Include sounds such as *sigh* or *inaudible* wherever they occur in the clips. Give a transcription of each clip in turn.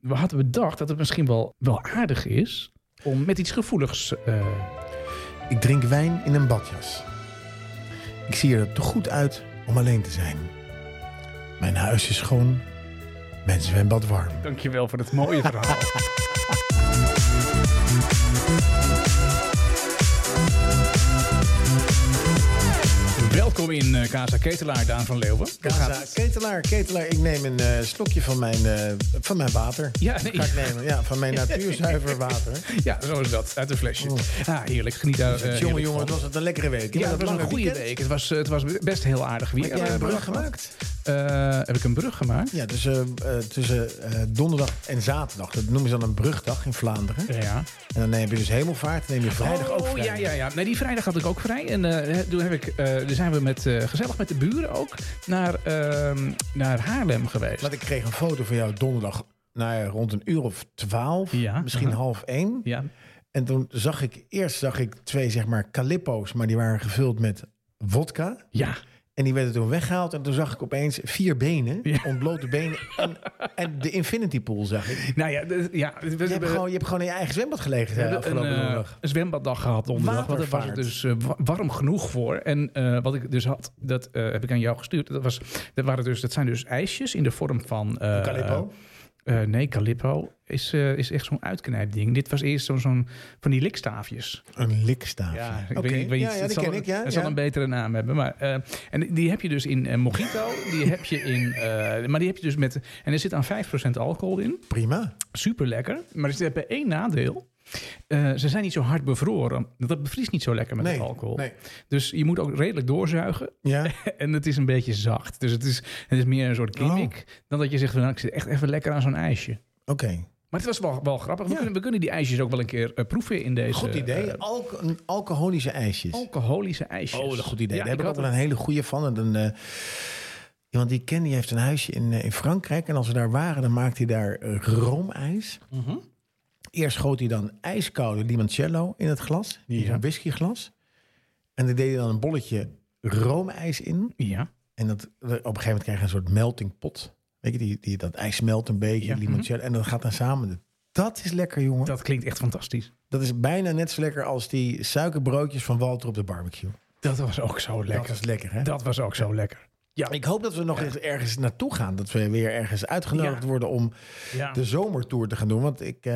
we hadden bedacht dat het misschien wel, wel aardig is om met iets gevoeligs. eh, Ik drink wijn in een badjas. Ik zie er te goed uit om alleen te zijn. Mijn huis is schoon, mijn zwembad warm. dankjewel voor het mooie verhaal. Welkom in eh, Casa Ketelaar, Daan van Leeuwen. Hoe gaat Kaza, het? ketelaar, ketelaar. Ik neem een eh, slokje van mijn, eh, van mijn water. Ja, nee. Ga ik nemen. Ja, van mijn natuurzuiver water. *laughs* ja, zo is dat. Uit een flesje. Ah, heerlijk. Geniet daar. eh, jonge heerlijk jongen, van. Oh. het was het een lekkere week. Ja, dat was een lange goede weekend. week. Het was, eh, het was best heel aardig weer. Heb jij een Eh, bedacht. brug gemaakt? Eh, heb ik een brug gemaakt? Ja, dus, eh, eh, tussen eh, donderdag en zaterdag. Dat noemen ze dan een brugdag in Vlaanderen. Ja. En dan heb je dus hemelvaart. Dan neem je vrijdag ook oh, vrij. ja, ja, ja. Nee, die vrijdag had ik ook vrij. En eh, toen heb ik, eh, toen zijn we met, eh, gezellig met de buren ook naar, ehm, naar Haarlem geweest. Want ik kreeg een foto van jou donderdag nou ja, rond een uur of twaalf. Ja, misschien aha. half één. Ja, En toen zag ik, eerst zag ik twee zeg maar calippo's. Maar die waren gevuld met vodka. ja. En die werden toen weggehaald. En toen zag ik opeens vier benen, Ja. ontblote benen. En, en de infinity pool zag ik. Nou ja, d- ja we- we Je hebt, hebben- gewoon, je hebt gewoon in je eigen zwembad gelegen we de hebben afgelopen een, eh, donderdag. een zwembaddag gehad donderdag. Want daar was het dus eh, wa- warm genoeg voor. En eh, wat ik dus had, dat eh, heb ik aan jou gestuurd. Dat, was, dat, waren dus, dat zijn dus ijsjes in de vorm van... eh, Calippo. eh, nee, Calippo is, eh, is echt zo'n uitknijpding. Dit was eerst zo'n zo'n van die likstaafjes. Een likstaafje. Ja, ik Oké. weet, ik weet ja, niet. ja, het die zal, ken ik. Ja, het zal ja. een betere naam hebben. Maar, eh, en die heb je dus in eh, Mojito. die heb je in. eh, maar die heb je dus met. En er zit aan 5% alcohol in. Prima. Super lekker. Maar ze hebben één nadeel. Eh, ze zijn niet zo hard bevroren. Dat bevriest niet zo lekker met nee, het alcohol. nee. Dus je moet ook redelijk doorzuigen. *laughs* Ja. En het is een beetje zacht. Dus het is, het is meer een soort Oh. gimmick. Dan dat je zegt, van, nou, ik zit echt even lekker aan zo'n ijsje. Oké, Maar het was wel, wel grappig. We, Ja. kunnen, we kunnen die ijsjes ook wel een keer eh, proeven in deze... goed idee. eh, Oh. Alco- een alcoholische ijsjes. alcoholische ijsjes. Oh, dat goed idee. Ja, Daar heb ik had ook wel een hele goede van. En dan, eh, iemand die ik ken, die heeft een huisje in, eh, in Frankrijk. En als we daar waren, dan maakte hij daar eh, roomijs. Mhm. Eerst goot hij dan ijskoude limoncello in het glas. Die Ja. Een whiskyglas. En daar deed hij dan een bolletje roomijs in. Ja. En dat, op een gegeven moment krijg je een soort melting pot. Weet je, die, die, dat ijs smelt een beetje, Ja, limoncello. En dat gaat dan samen. De- Dat is lekker, jongen. Dat, Dat klinkt echt fantastisch. is bijna net zo lekker als die suikerbroodjes van Walter op de barbecue. Dat was ook zo Dat lekker. is lekker, hè? Dat, was ook zo lekker. Ja. Ik hoop dat we nog eens ergens naartoe gaan. Dat we weer ergens uitgenodigd Ja. worden om ja. de zomertour te gaan doen. Want ik, eh,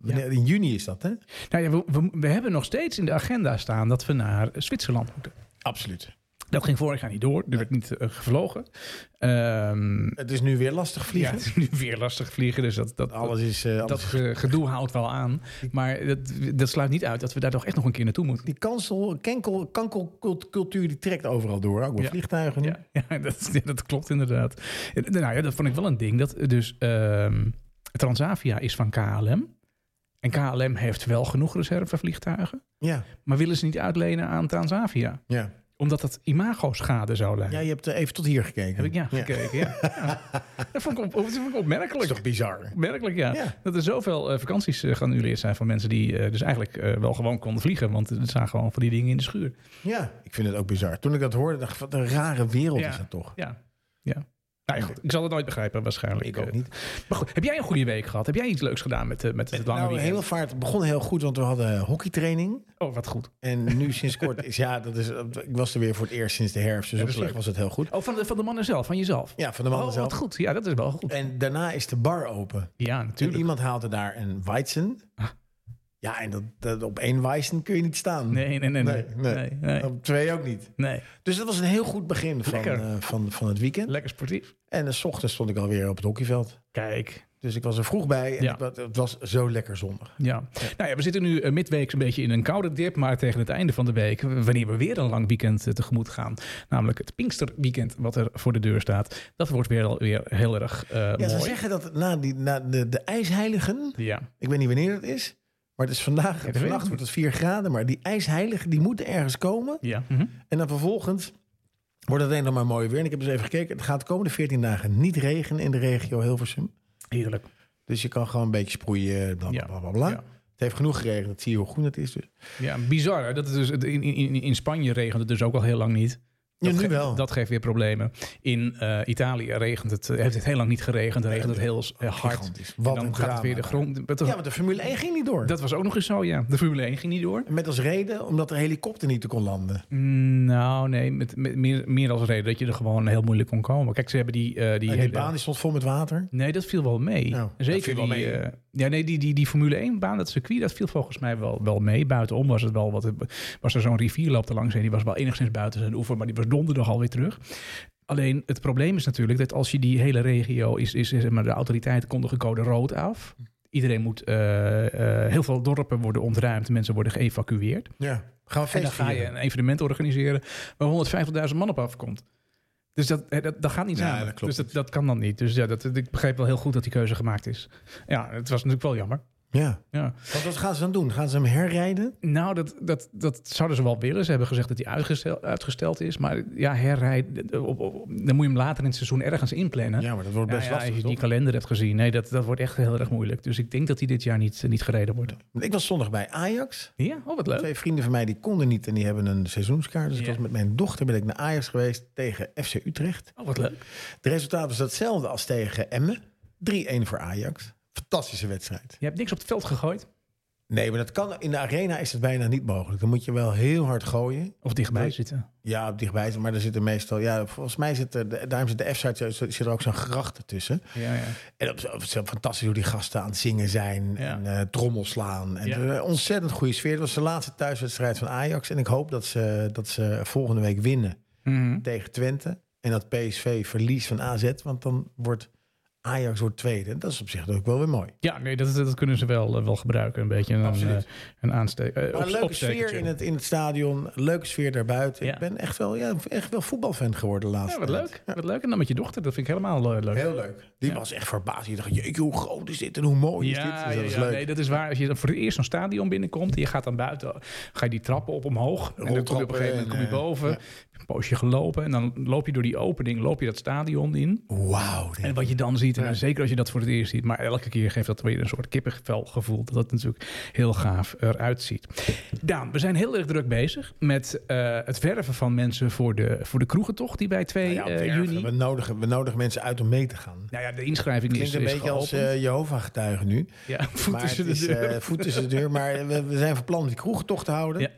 wanneer- in juni is dat, hè? Nou ja, we, we, we hebben nog steeds in de agenda staan dat we naar eh, Zwitserland moeten. Absoluut. Dat ging vorig jaar niet door. Er werd niet eh, gevlogen. Ehm Het is nu weer lastig ja, vliegen. het is nu *laughs* weer lastig vliegen. Dus dat, dat, Alles is... eh, dat, alles- ge- gedoe houdt wel aan. Maar dat, dat sluit niet uit dat we daar toch echt nog een keer naartoe moeten. Die kansel, kenkel, kankelcultuur die trekt overal door. Ook bij Ja. vliegtuigen. nu. Ja, *laughs* ja, dat, ja, dat klopt inderdaad. En, Nou ja, dat vond ik wel een ding. Dat eh, dus ehm, Transavia is van KLM. En KLM heeft wel genoeg reservevliegtuigen. Ja. Maar willen ze niet uitlenen aan Transavia? ja. Omdat dat imago-schade zou leiden. Ja, je hebt eh, even tot hier gekeken. Heb ik ja Ja. gekeken, *laughs* ja. Ja. Dat vond ik, op, dat vond ik Dat is opmerkelijk. toch bizar? Opmerkelijk, ja. Ja. Dat er zoveel eh, vakanties eh, geannuleerd zijn van mensen die eh, dus eigenlijk eh, wel gewoon konden vliegen. Want het zijn gewoon van die dingen in de schuur. Ja, ik vind het ook bizar. Toen ik dat hoorde, dacht ik, wat een rare wereld Ja. is dat toch? Ja. ja. Nou ja, goed. Ik zal het nooit begrijpen, waarschijnlijk. Ik ook Eh, niet. Maar goed, heb jij een goede week gehad? Heb jij iets leuks gedaan met, eh, met het lange Nou, weekend? hemelvaart begon heel goed, want we hadden hockeytraining. Oh, wat goed. En nu sinds kort is ja, dat is, ik was er weer voor het eerst sinds de herfst. Ja, Dus op dat is zich leuk. was het heel goed. Oh, van de, van de mannen zelf, van jezelf. Ja, van de mannen oh, zelf. wat goed. Ja, dat is wel goed. En daarna is de bar open. Ja, Toen natuurlijk. iemand haalde daar een Weizen. Ah. Ja, en dat, dat, op één Weizen kun je niet staan. Nee, nee, nee. Nee, Nee, Oh. nee. nee, nee, Op twee ook niet. nee. Dus dat was een heel goed begin van, Lekker. eh, van, van het weekend. Lekker sportief. En eh, s ochtends stond ik alweer op het hockeyveld. Kijk, Dus ik was er vroeg bij en Ja. het, wa- het was zo lekker zondag. ja. Nou ja, we zitten nu eh, midweeks een beetje in een koude dip, maar tegen het einde van de week, w- wanneer we weer een lang weekend eh, tegemoet gaan, namelijk het Pinksterweekend wat er voor de deur staat, dat wordt weer alweer heel erg eh, Ja, ze mooi. zeggen dat het na, die, na de, de ijsheiligen, Ja, ik weet niet wanneer het is, maar het is vandaag, weet ik vannacht niet. wordt het 4 graden, maar die ijsheiligen die moeten ergens komen. ja. Mhm. En dan vervolgens wordt het alleen nog maar mooier weer. En ik heb eens even gekeken, het gaat de komende 14 dagen niet regenen in de regio Hilversum. Heerlijk. Dus je kan gewoon een beetje sproeien, bla bla Ja. bla bla. bla. Ja. Het heeft genoeg geregend, dat zie je hoe groen het is. Dus. Ja, bizar. Hè? Dat het dus, in, in, in Spanje regent het dus ook al heel lang niet. Ja, Dat nu ge- wel. Dat geeft weer problemen. In eh, Italië regent het, eh, heeft het heel lang niet geregend. Dan regent het heel eh, hard. Gigantisch. En Wat dan een gaat het drama. weer de grond. dat- Ja, want de Formule 1 ging niet door. Dat was ook nog eens zo, ja. De Formule 1 ging niet door. Met als reden omdat de helikopter niet kon landen. Mm, Nou, nee, met, met- meer, meer als reden dat je er gewoon heel moeilijk kon komen. Kijk, ze hebben die, eh, die Ah, Die, hele... die baan die stond vol met water. Nee, dat viel wel mee. Nou, dat Zeker viel wel die, mee. eh, ja, nee, die, die, die Formule 1-baan, dat circuit, dat viel volgens mij wel, wel mee. Buitenom was het wel wat. Was er zo'n rivierloop te langs heen. Die was wel enigszins buiten zijn oever, maar die was donderdag alweer terug. Alleen het probleem is natuurlijk dat als je die hele regio is, is, is- zeg maar de autoriteiten kondigen code rood af. Iedereen moet, eh, eh, heel veel dorpen worden ontruimd, mensen worden geëvacueerd. Ja. Gaan we En dan feest ga je vieren. een evenement organiseren waar 150.000 man op afkomt. Dus dat, eh, dat, dat gaat niet Nee, samen. dat klopt dus dat, dat kan dan niet. Dus ja, dat, ik begreep wel heel goed dat die keuze gemaakt is. Ja, het was natuurlijk wel jammer. Ja. Ja. Want wat gaan ze dan doen? Gaan ze hem herrijden? Nou, dat, dat, dat zouden ze wel willen. Ze hebben gezegd dat die uitgesteld, uitgesteld is. Maar ja, herrijden, op, op- op- dan moet je hem later in het seizoen ergens inplannen. Ja, maar dat wordt Nou best ja, als lastig, je die toch? kalender hebt gezien. Nee, dat, dat wordt echt heel erg moeilijk. Dus ik denk dat die dit jaar niet, niet gereden wordt. Want Ik was zondag bij Ajax. Ja, oh wat leuk. Twee vrienden van mij die konden niet en die hebben een seizoenskaart. Dus ik Ja. was met mijn dochter ben ik naar Ajax geweest tegen FC Utrecht. Oh, wat leuk. Het resultaat was datzelfde als tegen Emmen. 3-1 voor Ajax. Fantastische wedstrijd. Je hebt niks op het veld gegooid. Nee, maar dat kan, in de arena is het bijna niet mogelijk. Dan moet je wel heel hard gooien. Of dichtbij Nee. zitten. Ja, op dichtbij, maar daar zitten meestal... Ja, volgens mij zit er, de- daarom zit de F-site, zo- zit er ook zo'n gracht tussen. Ja, ja. En dat is- dat is fantastisch hoe die gasten aan het zingen zijn Ja. en eh trommel slaan. En Ja. het was een ontzettend goede sfeer. Het was de laatste thuiswedstrijd van Ajax. En ik hoop dat ze, dat ze volgende week winnen Mhm. tegen Twente. En dat PSV verliest van AZ, want dan wordt Ajax wordt tweede. En dat is op zich ook wel weer mooi. Ja, nee, dat, dat kunnen ze wel, eh, wel gebruiken. Een beetje een, Absoluut. eh, een aansteek. eh, Maar op- een leuke opstekertje. sfeer in het, in het stadion, leuke sfeer daarbuiten. Ja. Ik ben echt wel, ja, echt wel voetbalfan geworden de Ja, laatste wat tijd. leuk. Wat leuk. En dan met je dochter, dat vind ik helemaal eh, leuk. Heel leuk. Die Ja. was echt verbaasd. Je dacht, jeetje, hoe groot is dit en hoe mooi is dit? Dus dat is leuk. nee, dat is waar. Als je dan voor het eerst zo'n stadion binnenkomt, en je gaat dan buiten, ga je die trappen op omhoog. En dan kom je op een Roltrappen gegeven moment kom je en, eh, boven, een poosje gelopen. En dan loop je door die opening, loop je dat stadion in. Wauw. En wat je dan ziet, en dan zeker als je dat voor het eerst ziet, maar elke keer geeft dat weer een soort kippenvelgevoel. Dat het natuurlijk heel gaaf eruit ziet. Daan, we zijn heel erg druk bezig met eh, het verven van mensen voor de, voor de kroegentocht die bij 2 Nou ja, eh, werven. juni. we, nodigen, we nodigen mensen uit om mee te gaan. Nou ja, de inschrijving Klinkt is, een is beetje als geopend. eh Jehovah-getuigen nu. ja, *laughs* voet maar tussen het is, de deur. eh, voet tussen de deur. Maar we, we zijn van plan om die kroegtocht te houden. Ja.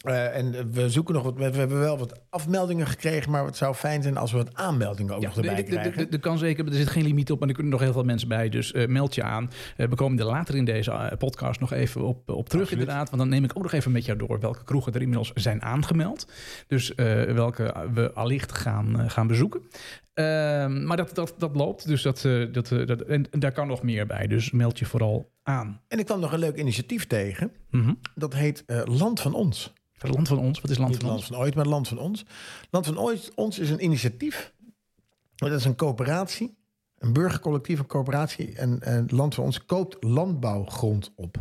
Eh, en we zoeken nog wat. We, we hebben wel wat afmeldingen gekregen. Maar het zou fijn zijn als we wat aanmeldingen ook Ja, nog erbij de- de- de- krijgen. de- de kan zeker, er zit geen limiet op, maar er kunnen nog heel veel mensen bij. Dus eh, meld je aan. Eh, we komen er later in deze eh, podcast nog even op, op terug, Absoluut. inderdaad. Want dan neem ik ook nog even met jou door welke kroegen er inmiddels zijn aangemeld. Dus eh, welke we allicht gaan, eh, gaan bezoeken. Ehm, maar dat, dat, dat loopt, dus dat, eh, dat, eh, dat, en, en daar kan nog meer bij. Dus meld je vooral aan. En ik kwam nog een leuk initiatief tegen. Mhm. Dat heet eh, Land van Ons. Het land van ons, wat is land Niet van Land ons? van Ooit, maar Land van Ons. Land van Ooit, Ons is een initiatief. Dat is een coöperatie. Een burgercollectief, een coöperatie. En eh, Land van Ons koopt landbouwgrond op.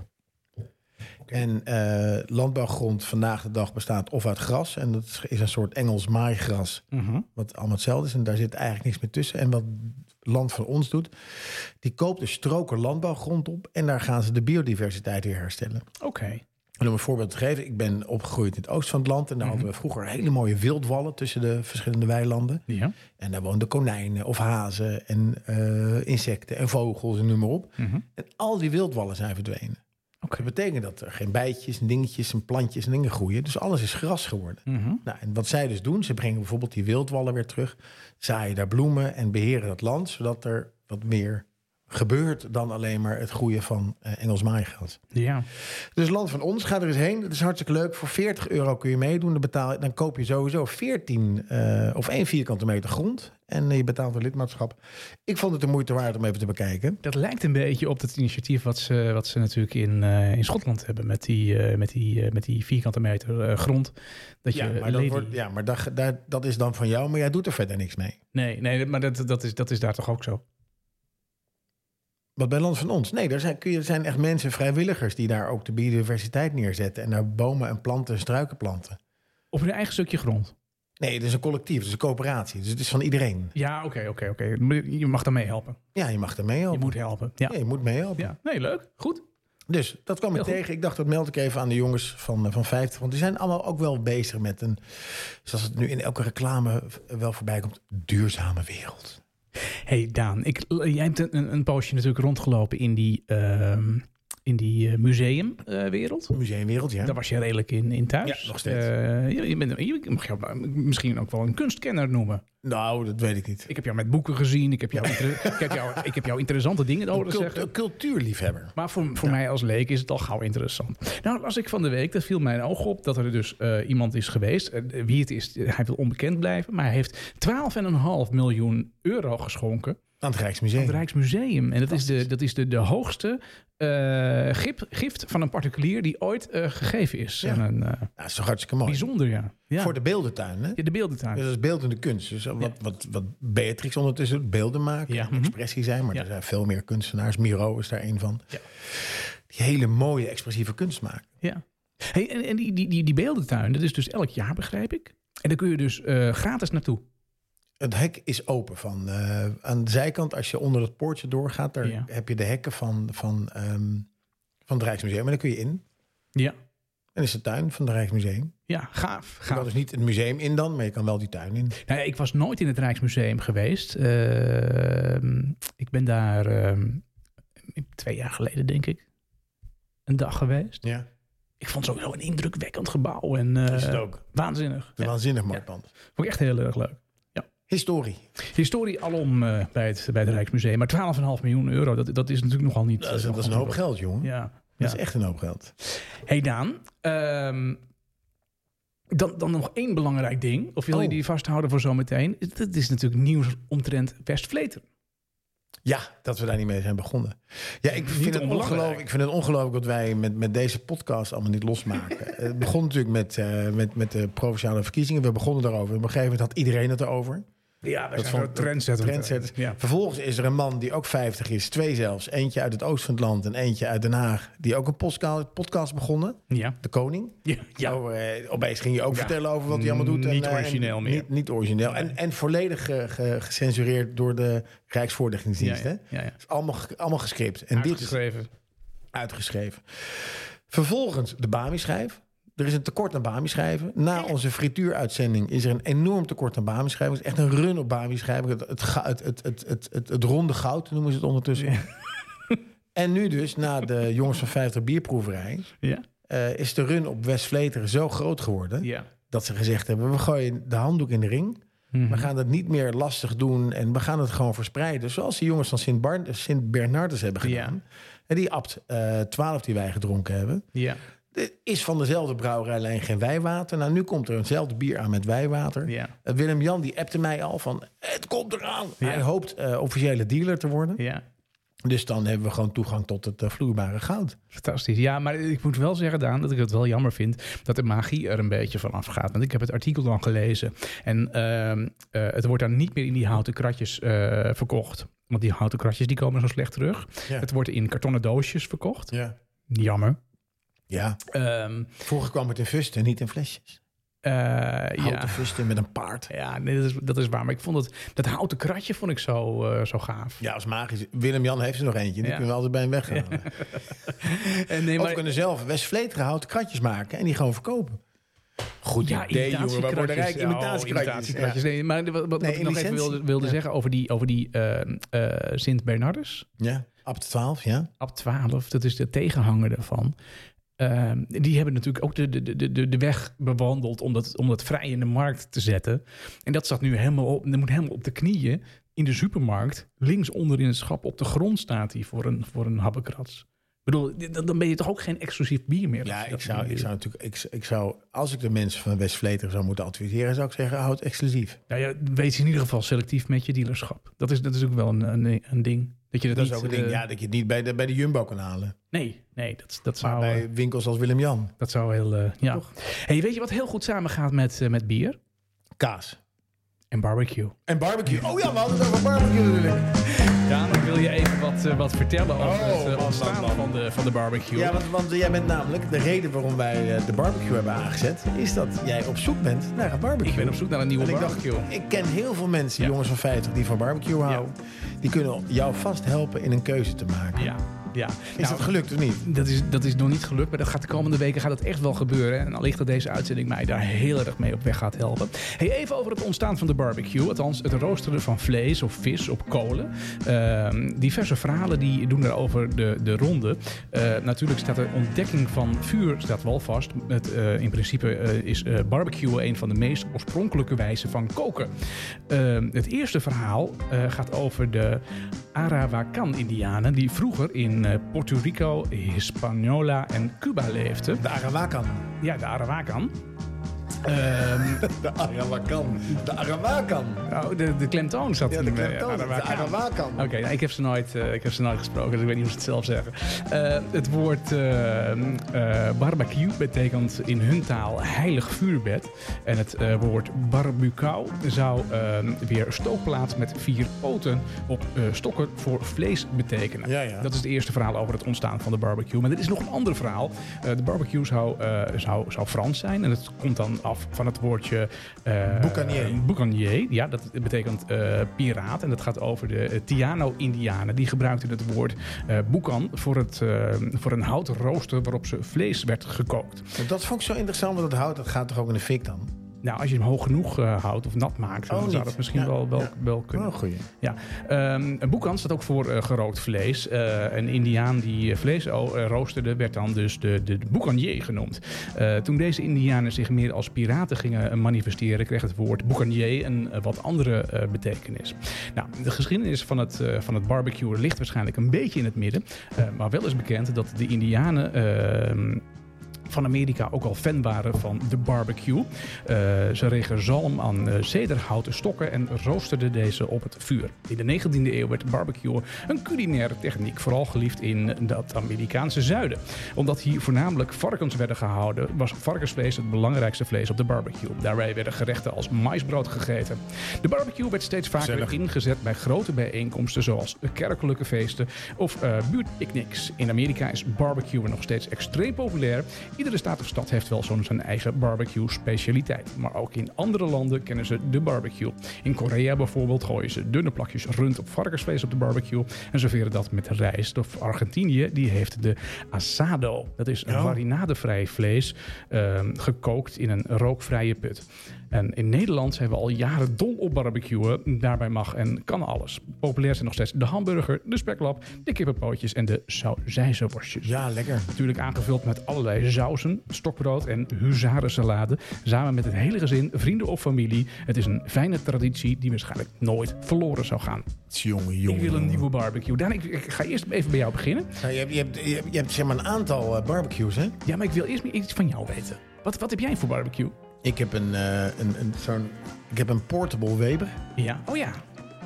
En eh, landbouwgrond vandaag de dag bestaat of uit gras. En dat is- is een soort Engels maaigras. Mhm. Wat allemaal hetzelfde is. En daar zit eigenlijk niks meer tussen. En wat Land van Ons doet. Die koopt dus stroken landbouwgrond op. En daar gaan ze de biodiversiteit weer herstellen. Oké. En om een voorbeeld te geven, ik ben opgegroeid in het oosten van het land. En daar hadden we vroeger hele mooie wildwallen tussen de verschillende weilanden. Ja. En daar woonden konijnen of hazen en eh, insecten en vogels en noem maar op. Mhm. En al die wildwallen zijn verdwenen. Oké. Dat betekent dat er geen bijtjes en dingetjes en plantjes en dingen groeien. Dus alles is gras geworden. Mhm. Nou, en wat zij dus doen, ze brengen bijvoorbeeld die wildwallen weer terug. Zaaien daar bloemen en beheren dat land. Zodat er wat meer gebeurt dan alleen maar het groeien van eh, Engels maaigras. Ja. Dus Land van Ons, ga er eens heen. Dat is hartstikke leuk. Voor 40 euro kun je meedoen. Dan, betaal, je- dan koop je sowieso 14 eh, of 1 vierkante meter grond. En eh, je betaalt een lidmaatschap. Ik vond het de moeite waard om even te bekijken. Dat lijkt een beetje op dat initiatief wat ze, wat ze natuurlijk in, eh, in Schotland hebben met die, eh, met die, eh, met die vierkante meter eh, grond. Dat je maar, dat, lady- wordt, ja, maar daar- daar- dat is dan van jou. Maar jij doet er verder niks mee. Nee, nee, maar dat, dat, is, dat is daar toch ook zo. Wat bij Land van Ons? Nee, daar zijn, kun je, er zijn echt mensen, vrijwilligers... die daar ook de biodiversiteit neerzetten. En daar bomen en planten en struiken planten. Op hun eigen stukje grond. Nee, het is een collectief, het is een coöperatie. Dus het is van iedereen. Ja, oké, oké, oké. Maar Je mag daarmee helpen. Ja, je mag er mee Je helpen. moet helpen. Ja. Ja, je moet mee helpen. ja. Nee, leuk. Goed. Dus dat kwam ik Heel goed. tegen. Ik dacht, dat meld ik even aan de jongens van, eh, van 50. Want die zijn allemaal ook wel bezig met een... Zoals het nu in elke reclame wel voorbij komt. Duurzame wereld. hey Daan, ik, jij hebt een, een, een poosje natuurlijk rondgelopen in die, ehm, in die museumwereld. Museumwereld, ja. Daar was je redelijk in, in thuis. Ja, nog steeds. Eh, je, je bent, je mag jou misschien ook wel een kunstkenner noemen. Nou, dat weet ik niet. Ik heb jou met boeken gezien. Ik heb jou, *laughs* inter- ik heb jou, ik heb jou interessante dingen horen Cult- zeggen. een cultuurliefhebber. Maar voor, voor mij als leek is het al gauw interessant. Nou, las ik van de week, dat viel mijn oog op, dat er dus eh, iemand is geweest. eh, wie het is, eh, hij wil onbekend blijven. Maar hij heeft 12,5 miljoen euro geschonken Aan het Rijksmuseum. aan het Rijksmuseum. En dat is de, dat is de, de hoogste eh, gif- gift van een particulier die ooit eh, gegeven is. Ja. En een, eh, Ja, dat is toch hartstikke mooi. bijzonder, ja. ja. Voor de beeldentuin, hè? Ja, de beeldentuin. Dus dat is beeldende kunst. Dus wat, wat, wat Beatrix ondertussen doet, beelden maken, Ja, en mhm. expressie zijn. Maar Ja. er zijn veel meer kunstenaars. Miro is daar een van. Ja. Die hele mooie expressieve kunst maken. Ja. Hey, en en die, die, die, die beeldentuin, dat is dus elk jaar, begrijp ik. En daar kun je dus eh, gratis naartoe. Het hek is open. Van, eh, aan de zijkant, als je onder het poortje doorgaat, daar Ja. heb je de hekken van, van, ehm, van het Rijksmuseum. En daar kun je in. Ja. En is de tuin van het Rijksmuseum. Ja, gaaf. Je kan gaaf. dus niet het museum in dan, maar je kan wel die tuin in. Nou ja, ik was nooit in het Rijksmuseum geweest. Ehm, ik ben daar ehm, twee jaar geleden, denk ik, een dag geweest. Ja, Ik vond het sowieso een indrukwekkend gebouw. En, eh, is het ook. Waanzinnig. Een Ja, waanzinnig mooi pand. vond ik echt heel erg leuk. Historie. Historie alom eh, bij, het, bij het Rijksmuseum. Maar 12,5 miljoen euro, dat, dat is natuurlijk nogal niet... Dat is, eh, dat is een hoop geld, jongen. Ja, ja. Dat is echt een hoop geld. Hey Daan, ehm, dan, dan nog één belangrijk ding. Of wil je Oh. die vasthouden voor zometeen? Dat is natuurlijk nieuws omtrent Westvleteren. Ja, dat we daar niet mee zijn begonnen. Ja, ik vind, het onbelangrijk. ongelooflijk, ik vind het ongelooflijk dat wij met, met deze podcast allemaal niet *laughs* losmaken. het begon natuurlijk met, eh, met, met de provinciale verkiezingen. We begonnen daarover. Op een gegeven moment had iedereen het erover. Ja, dat zijn wel trendsetters. Trendsetters. Ja. Vervolgens is er een man die ook 50 is, twee zelfs. Eentje uit het oosten van het land en eentje uit Den Haag. Die ook een postka- podcast begonnen. Ja. De Koning. Ja. ja. Oh, eh, opeens ging je ook Ja. vertellen over wat hij allemaal doet. Niet eh, origineel meer. Niet, niet origineel. En, en volledig ge- ge- gecensureerd door de ja, Rijksvoorlichtingsdienst. ja, hè? ja, ja. Het is allemaal, ge- allemaal gescript. En dit is Uitgeschreven. uitgeschreven. Vervolgens de Bami-schijf. Er is een tekort aan Bami-schijven. Na onze frituuruitzending is er een enorm tekort aan Bami-schijven. Het is echt een run op Bami-schijven. Het, het, ga- het, het, het, het, het, het ronde goud noemen ze het ondertussen. *laughs* En nu dus, na de Jongens van 50 bierproeverij... Ja. eh, is de run op West Vleteren zo groot geworden... ja. dat ze gezegd hebben, we gooien de handdoek in de ring... Mhm. We gaan het niet meer lastig doen en we gaan het gewoon verspreiden. Zoals die jongens van Sint, Bar- Sint Bernardus hebben gedaan. En die abt eh 12 die wij gedronken hebben. Ja. Dit is van dezelfde brouwerijlijn geen wijwater. Nou, nu komt er eenzelfde bier aan met wijwater. Ja. Eh, Willem-Jan die appte mij al van, het komt eraan. Ja. Hij hoopt eh, officiële dealer te worden. Ja. Dus dan hebben we gewoon toegang tot het eh, vloeibare goud. Fantastisch. Ja, maar ik moet wel zeggen, Daan, dat ik het wel jammer vind dat de magie er een beetje van afgaat. Want ik heb het artikel dan gelezen en ehm, eh, het wordt dan niet meer in die houten kratjes eh, verkocht. Want die houten kratjes die komen zo slecht terug. Ja. Het wordt in kartonnen doosjes verkocht. Ja. Jammer. ja. Ehm, Vroeger kwam het in fusten, niet in flesjes. eh, Houten ja. fusten met een paard. Ja, nee, dat, is, dat is waar. Maar ik vond het, dat houten kratje vond ik zo, eh, zo gaaf. Ja, als magisch. Willem-Jan heeft er nog eentje. Die Ja. kunnen we altijd bij hem weghalen. En nee, Of we kunnen zelf West-Vleteren houten kratjes maken en die gewoon verkopen. Goed Ja, idee, jongen. We worden rijk. imitatiekratjes. Oh, Imitatiekratjes. imitatiekratjes. Nee, maar wat, wat Nee, ik nog even licentie. wilde, wilde Ja. zeggen over die, over die eh, eh, Sint Bernardus, ja. ja, Abt 12, ja. ab 12, dat is de tegenhanger daarvan. Eh, die hebben natuurlijk ook de, de, de, de, de weg bewandeld om dat, om dat vrij in de markt te zetten. En dat staat nu helemaal op, dat moet helemaal op de knieën in de supermarkt. Links onder in het schap op de grond staat hij voor een, voor een habbekrats. Ik bedoel, dit- dan dan ben je toch ook geen exclusief bier meer? Ja, als je ik dat zou, doet. ik zou natuurlijk, ik, ik zou, als ik de mensen van West-Vleteren zou moeten adviseren, zou ik zeggen, houd exclusief. Nou ja, wees in ieder geval selectief met je dealerschap. Dat is, dat is ook wel een, een, een ding. Dat je dat, Dat is niet, ook een ding, eh, Oh, ja, dat je het niet bij de, bij de Jumbo kan halen. Nee, nee dat, dat, Maar zou, eh, bij winkels als Willem-Jan. dat zou heel... eh, ja. hey, weet je wat heel goed samengaat met, eh, met bier? Kaas. En barbecue. En barbecue. Oh ja, we hadden het over barbecue natuurlijk. Daan, ik wil je even wat, eh, wat vertellen over Oh, het eh, man, man, ontstaan man. Van, de, van de barbecue. Ja, want, want jij bent namelijk, de reden waarom wij eh, de barbecue hebben aangezet, is dat jij op zoek bent naar een barbecue. ik ben op zoek naar een nieuwe En ik dacht, barbecue. ik ken heel veel mensen, Ja. jongens van 50, die van barbecue houden. Die kunnen jou vast helpen in een keuze te maken. Ja, Nou. Ja. Is dat gelukt of niet? Dat is, dat is nog niet gelukt, maar dat gaat de komende weken gaat dat echt wel gebeuren. En allicht dat deze uitzending mij daar heel erg mee op weg gaat helpen. Hey, even over het ontstaan van de barbecue. Althans, het roosteren van vlees of vis op kolen. Ehm, diverse verhalen die doen daarover de, de ronde. Eh, natuurlijk staat de ontdekking van vuur staat wel vast. Het, eh, in principe eh, is eh barbecue een van de meest oorspronkelijke wijzen van koken. Ehm, het eerste verhaal eh, gaat over de Arawakan-Indianen, die vroeger in eh, Puerto Rico, Hispaniola en Cuba leefden. De Arawakan. Ja, de Arawakan. De Arawakan. De Arawakan. Oh, de, de klemtoon zat Ja, in de eh, klemtoon, de Arawakan. Oké, nou, ik, heb ze nooit, eh, ik heb ze nooit gesproken, dus ik weet niet hoe ze het zelf zeggen. Eh, het woord eh, eh, barbecue betekent in hun taal heilig vuurbed. En het eh, woord barbucau zou eh, weer stookplaats met vier poten op eh, stokken voor vlees betekenen. Ja, ja. Dat is het eerste verhaal over het ontstaan van de barbecue. Maar er is nog een ander verhaal. Eh, de barbecue zou, eh, zou, zou Frans zijn. En dat komt dan af van het woordje... eh, Boucanier. Boucanier, ja, dat betekent eh, piraat. En dat gaat over de eh, Tiano-Indianen. Die gebruikten het woord eh boekan voor, het, eh, voor een houten rooster waarop ze vlees werd gekookt. Nou, Dat vond ik zo interessant, want dat hout dat gaat toch ook in de fik dan? Nou, als je hem hoog genoeg eh, houdt of nat maakt, Oh, dan zou niet. dat misschien Ja, wel, wel, ja. wel kunnen. Oh, goeie. Ja. Ehm, een boekhand staat ook voor eh, gerookt vlees. Eh, een indiaan die eh, vlees o- eh, roosterde werd dan dus de, de, de boekanier genoemd. Eh, toen deze indianen zich meer als piraten gingen eh, manifesteren... kreeg het woord boekanier een eh, wat andere eh, betekenis. Nou, de geschiedenis van het, eh, van het barbecue ligt waarschijnlijk een beetje in het midden. Eh, maar wel is bekend dat de indianen... ehm, van Amerika ook al fan waren van de barbecue. Eh, ze regen zalm aan eh, zederhouten stokken en roosterden deze op het vuur. In de 19e eeuw werd barbecue een culinaire techniek, vooral geliefd in dat Amerikaanse zuiden. Omdat hier voornamelijk varkens werden gehouden, was varkensvlees het belangrijkste vlees op de barbecue. Daarbij werden gerechten als maïsbrood gegeten. De barbecue werd steeds vaker Gezellig. ingezet bij grote bijeenkomsten zoals kerkelijke feesten of eh buurtpicnics. In Amerika is barbecue nog steeds extreem populair. Iedere staat of stad heeft wel zo'n zijn eigen barbecue specialiteit. Maar ook in andere landen kennen ze de barbecue. In Korea bijvoorbeeld gooien ze dunne plakjes rund op varkensvlees op de barbecue en serveren dat met rijst. Of Argentinië, die heeft de asado. Dat is een Ja. marinadevrij vlees ehm, gekookt in een rookvrije put. En in Nederland zijn we al jaren dol op barbecuen. Daarbij mag en kan alles. Populair zijn nog steeds de hamburger, de speklap, de kippenpootjes en de sauzijzenworstjes. Ja, lekker. Natuurlijk aangevuld met allerlei sauzen, stokbrood en huzarensalade. Samen met het hele gezin, vrienden of familie. Het is een fijne traditie die waarschijnlijk nooit verloren zou gaan. Jongen, Ik jongen. wil een nieuwe barbecue. Daan, ik, ik ga eerst even bij jou beginnen. Nou, je, hebt, je, hebt, je, hebt, je hebt zeg maar een aantal eh, barbecues, hè? Ja, maar ik wil eerst meer iets van jou weten. Wat, wat heb jij voor barbecue? Ik heb een, eh, een, een, zo'n, ik heb een portable Weber. Ja. Oh ja.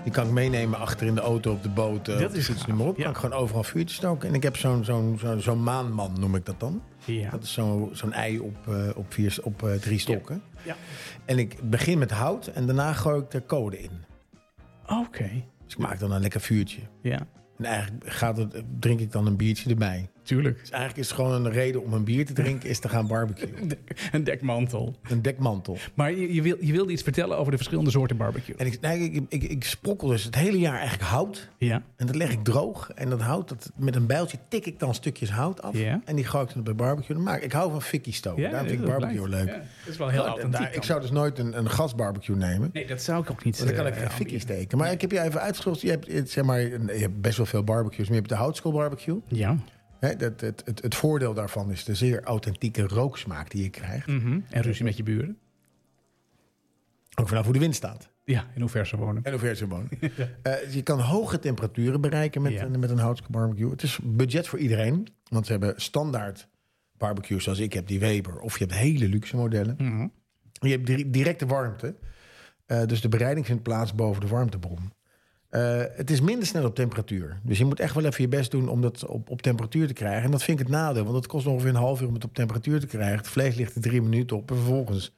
Die kan ik meenemen achter in de auto, op de boot. eh, Dat op de is fiets, gaaf, noem maar op. ja. Kan ik gewoon overal vuurtjes stoken. En ik heb zo'n, zo'n, zo'n, zo'n maanman, noem ik dat dan. Ja. Dat is zo, zo'n ei op, eh, op, vier, op eh, drie stokken. ja. En ik begin met hout en daarna gooi ik er code in. Oké. Dus ik maak dan een lekker vuurtje. Ja. En eigenlijk gaat het, drink ik dan een biertje erbij. Tuurlijk. Dus eigenlijk is het gewoon een reden om een bier te drinken, is te gaan *laughs* barbecuen. Een dekmantel. Een dekmantel. Maar je, je, wil, je wilde iets vertellen over de verschillende soorten barbecue. En ik, nee, ik, ik, ik sprokkel dus het hele jaar eigenlijk hout. Ja. En dat leg ik droog. En dat hout, dat, met een bijltje tik ik dan stukjes hout af. Ja. En die gooi ik dan op de barbecue. Dan maak ik, ik hou van fikkie stoken. ja Daarom vind ik dat barbecue blijkt. leuk. Ja, dat is wel heel En authentiek. daar- dan. ik zou dus nooit een, een gasbarbecue nemen. Nee, dat zou ik ook niet. Want dan kan ik eh, geen fikkie aanbieden. steken. Maar ik heb je even uitgezocht. Je hebt, eh, zeg maar, een- je hebt best wel veel barbecues. Maar je hebt de houtskoolbarbecue. Ja. Hè, dat, het, het, het voordeel daarvan is de zeer authentieke rooksmaak die je krijgt. Mhm. En ruzie met je buren. Ook vanaf hoe de wind staat. Ja, in hoever ze wonen. En hoe ver ze wonen. Eh, je kan hoge temperaturen bereiken met, Ja. een- met een houtskoolbarbecue. Het is budget voor iedereen. Want ze hebben standaard barbecues zoals ik heb, die Weber. Of je hebt hele luxe modellen. Mhm. Je hebt dri- directe warmte. Eh, dus de bereiding vindt plaats boven de warmtebron. Eh, het is minder snel op temperatuur. Dus je moet echt wel even je best doen om dat op, op temperatuur te krijgen. En dat vind ik het nadeel, want het kost ongeveer een half uur om het op temperatuur te krijgen. Het vlees ligt er drie minuten op en vervolgens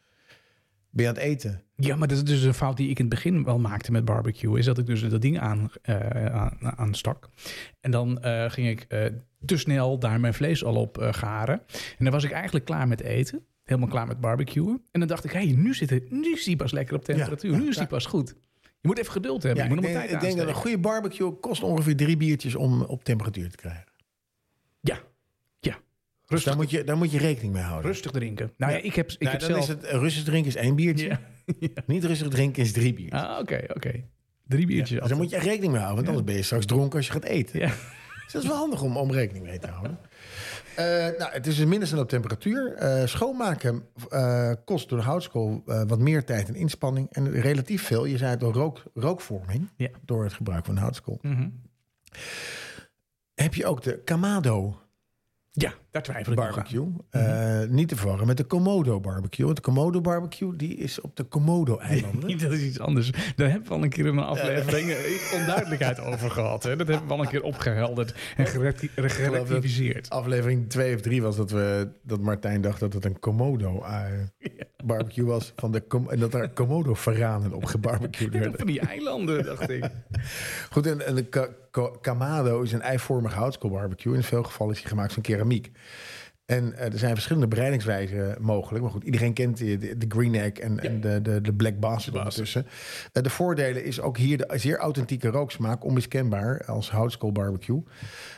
ben je aan het eten. Ja, maar dat is dus een fout die ik in het begin wel maakte met barbecue. Is dat ik dus dat ding aan, eh, aan, aanstak. En dan eh, ging ik eh, te snel daar mijn vlees al op eh, garen. En dan was ik eigenlijk klaar met eten. Helemaal klaar met barbecuen. En dan dacht ik, hé, hey, nu, zit het- nu is die pas lekker op temperatuur. ja, nu is die ja. pas goed. Je moet even geduld hebben. Ja, je moet ik nog denk, een tijd ik denk dat een aansteken. goede barbecue kost ongeveer drie biertjes om op temperatuur te krijgen. Ja, ja. Dus Rustig, daar moet, je, daar moet je rekening mee houden. rustig drinken. Nou ja, ik heb, ik Nou, heb dan zelf... is het, eh, rustig drinken is één biertje. Ja. Niet rustig drinken is drie biertjes. Ah, oké, oké. Drie biertjes. Dus daar moet je echt rekening mee houden. Want anders ben je straks dronken als je gaat eten. Ja. Dus dat is wel handig om, om rekening mee te *laughs* houden. Eh, nou, het is dus mindestens op temperatuur. Eh, schoonmaken eh, kost door de houtskool eh, wat meer tijd en inspanning. En relatief veel, je zei het al, rook, rookvorming Ja. door het gebruik van de houtskool. Mhm. Heb je ook de Kamado Ja, daar twijfel ik nog aan. barbecue. Eh, niet te verwarren met de Komodo barbecue. Want de Komodo barbecue die is op de *laughs* Komodo-eilanden. Dat is iets anders. Daar hebben we al een keer in een aflevering eh, onduidelijkheid over gehad. Hè? Dat hebben we al een keer opgehelderd en gerect- gerectificeerd. Aflevering 2 of 3 was dat, we, dat Martijn dacht dat het een Komodo-barbecue was. Van de, Kom- en dat daar Komodo-varanen op gebarbecued werden. Van die eilanden, dacht ik. Goed, en, en de ka- ko- Kamado is een eivormige houtskoolbarbecue. In veel gevallen is die gemaakt van keramiek. En eh, er zijn verschillende bereidingswijzen mogelijk. Maar goed, iedereen kent die- de, de green egg en, en de, de, de black bastard ondertussen. Eh, de voordelen is ook hier de zeer authentieke rooksmaak, onmiskenbaar als houtskoolbarbecue.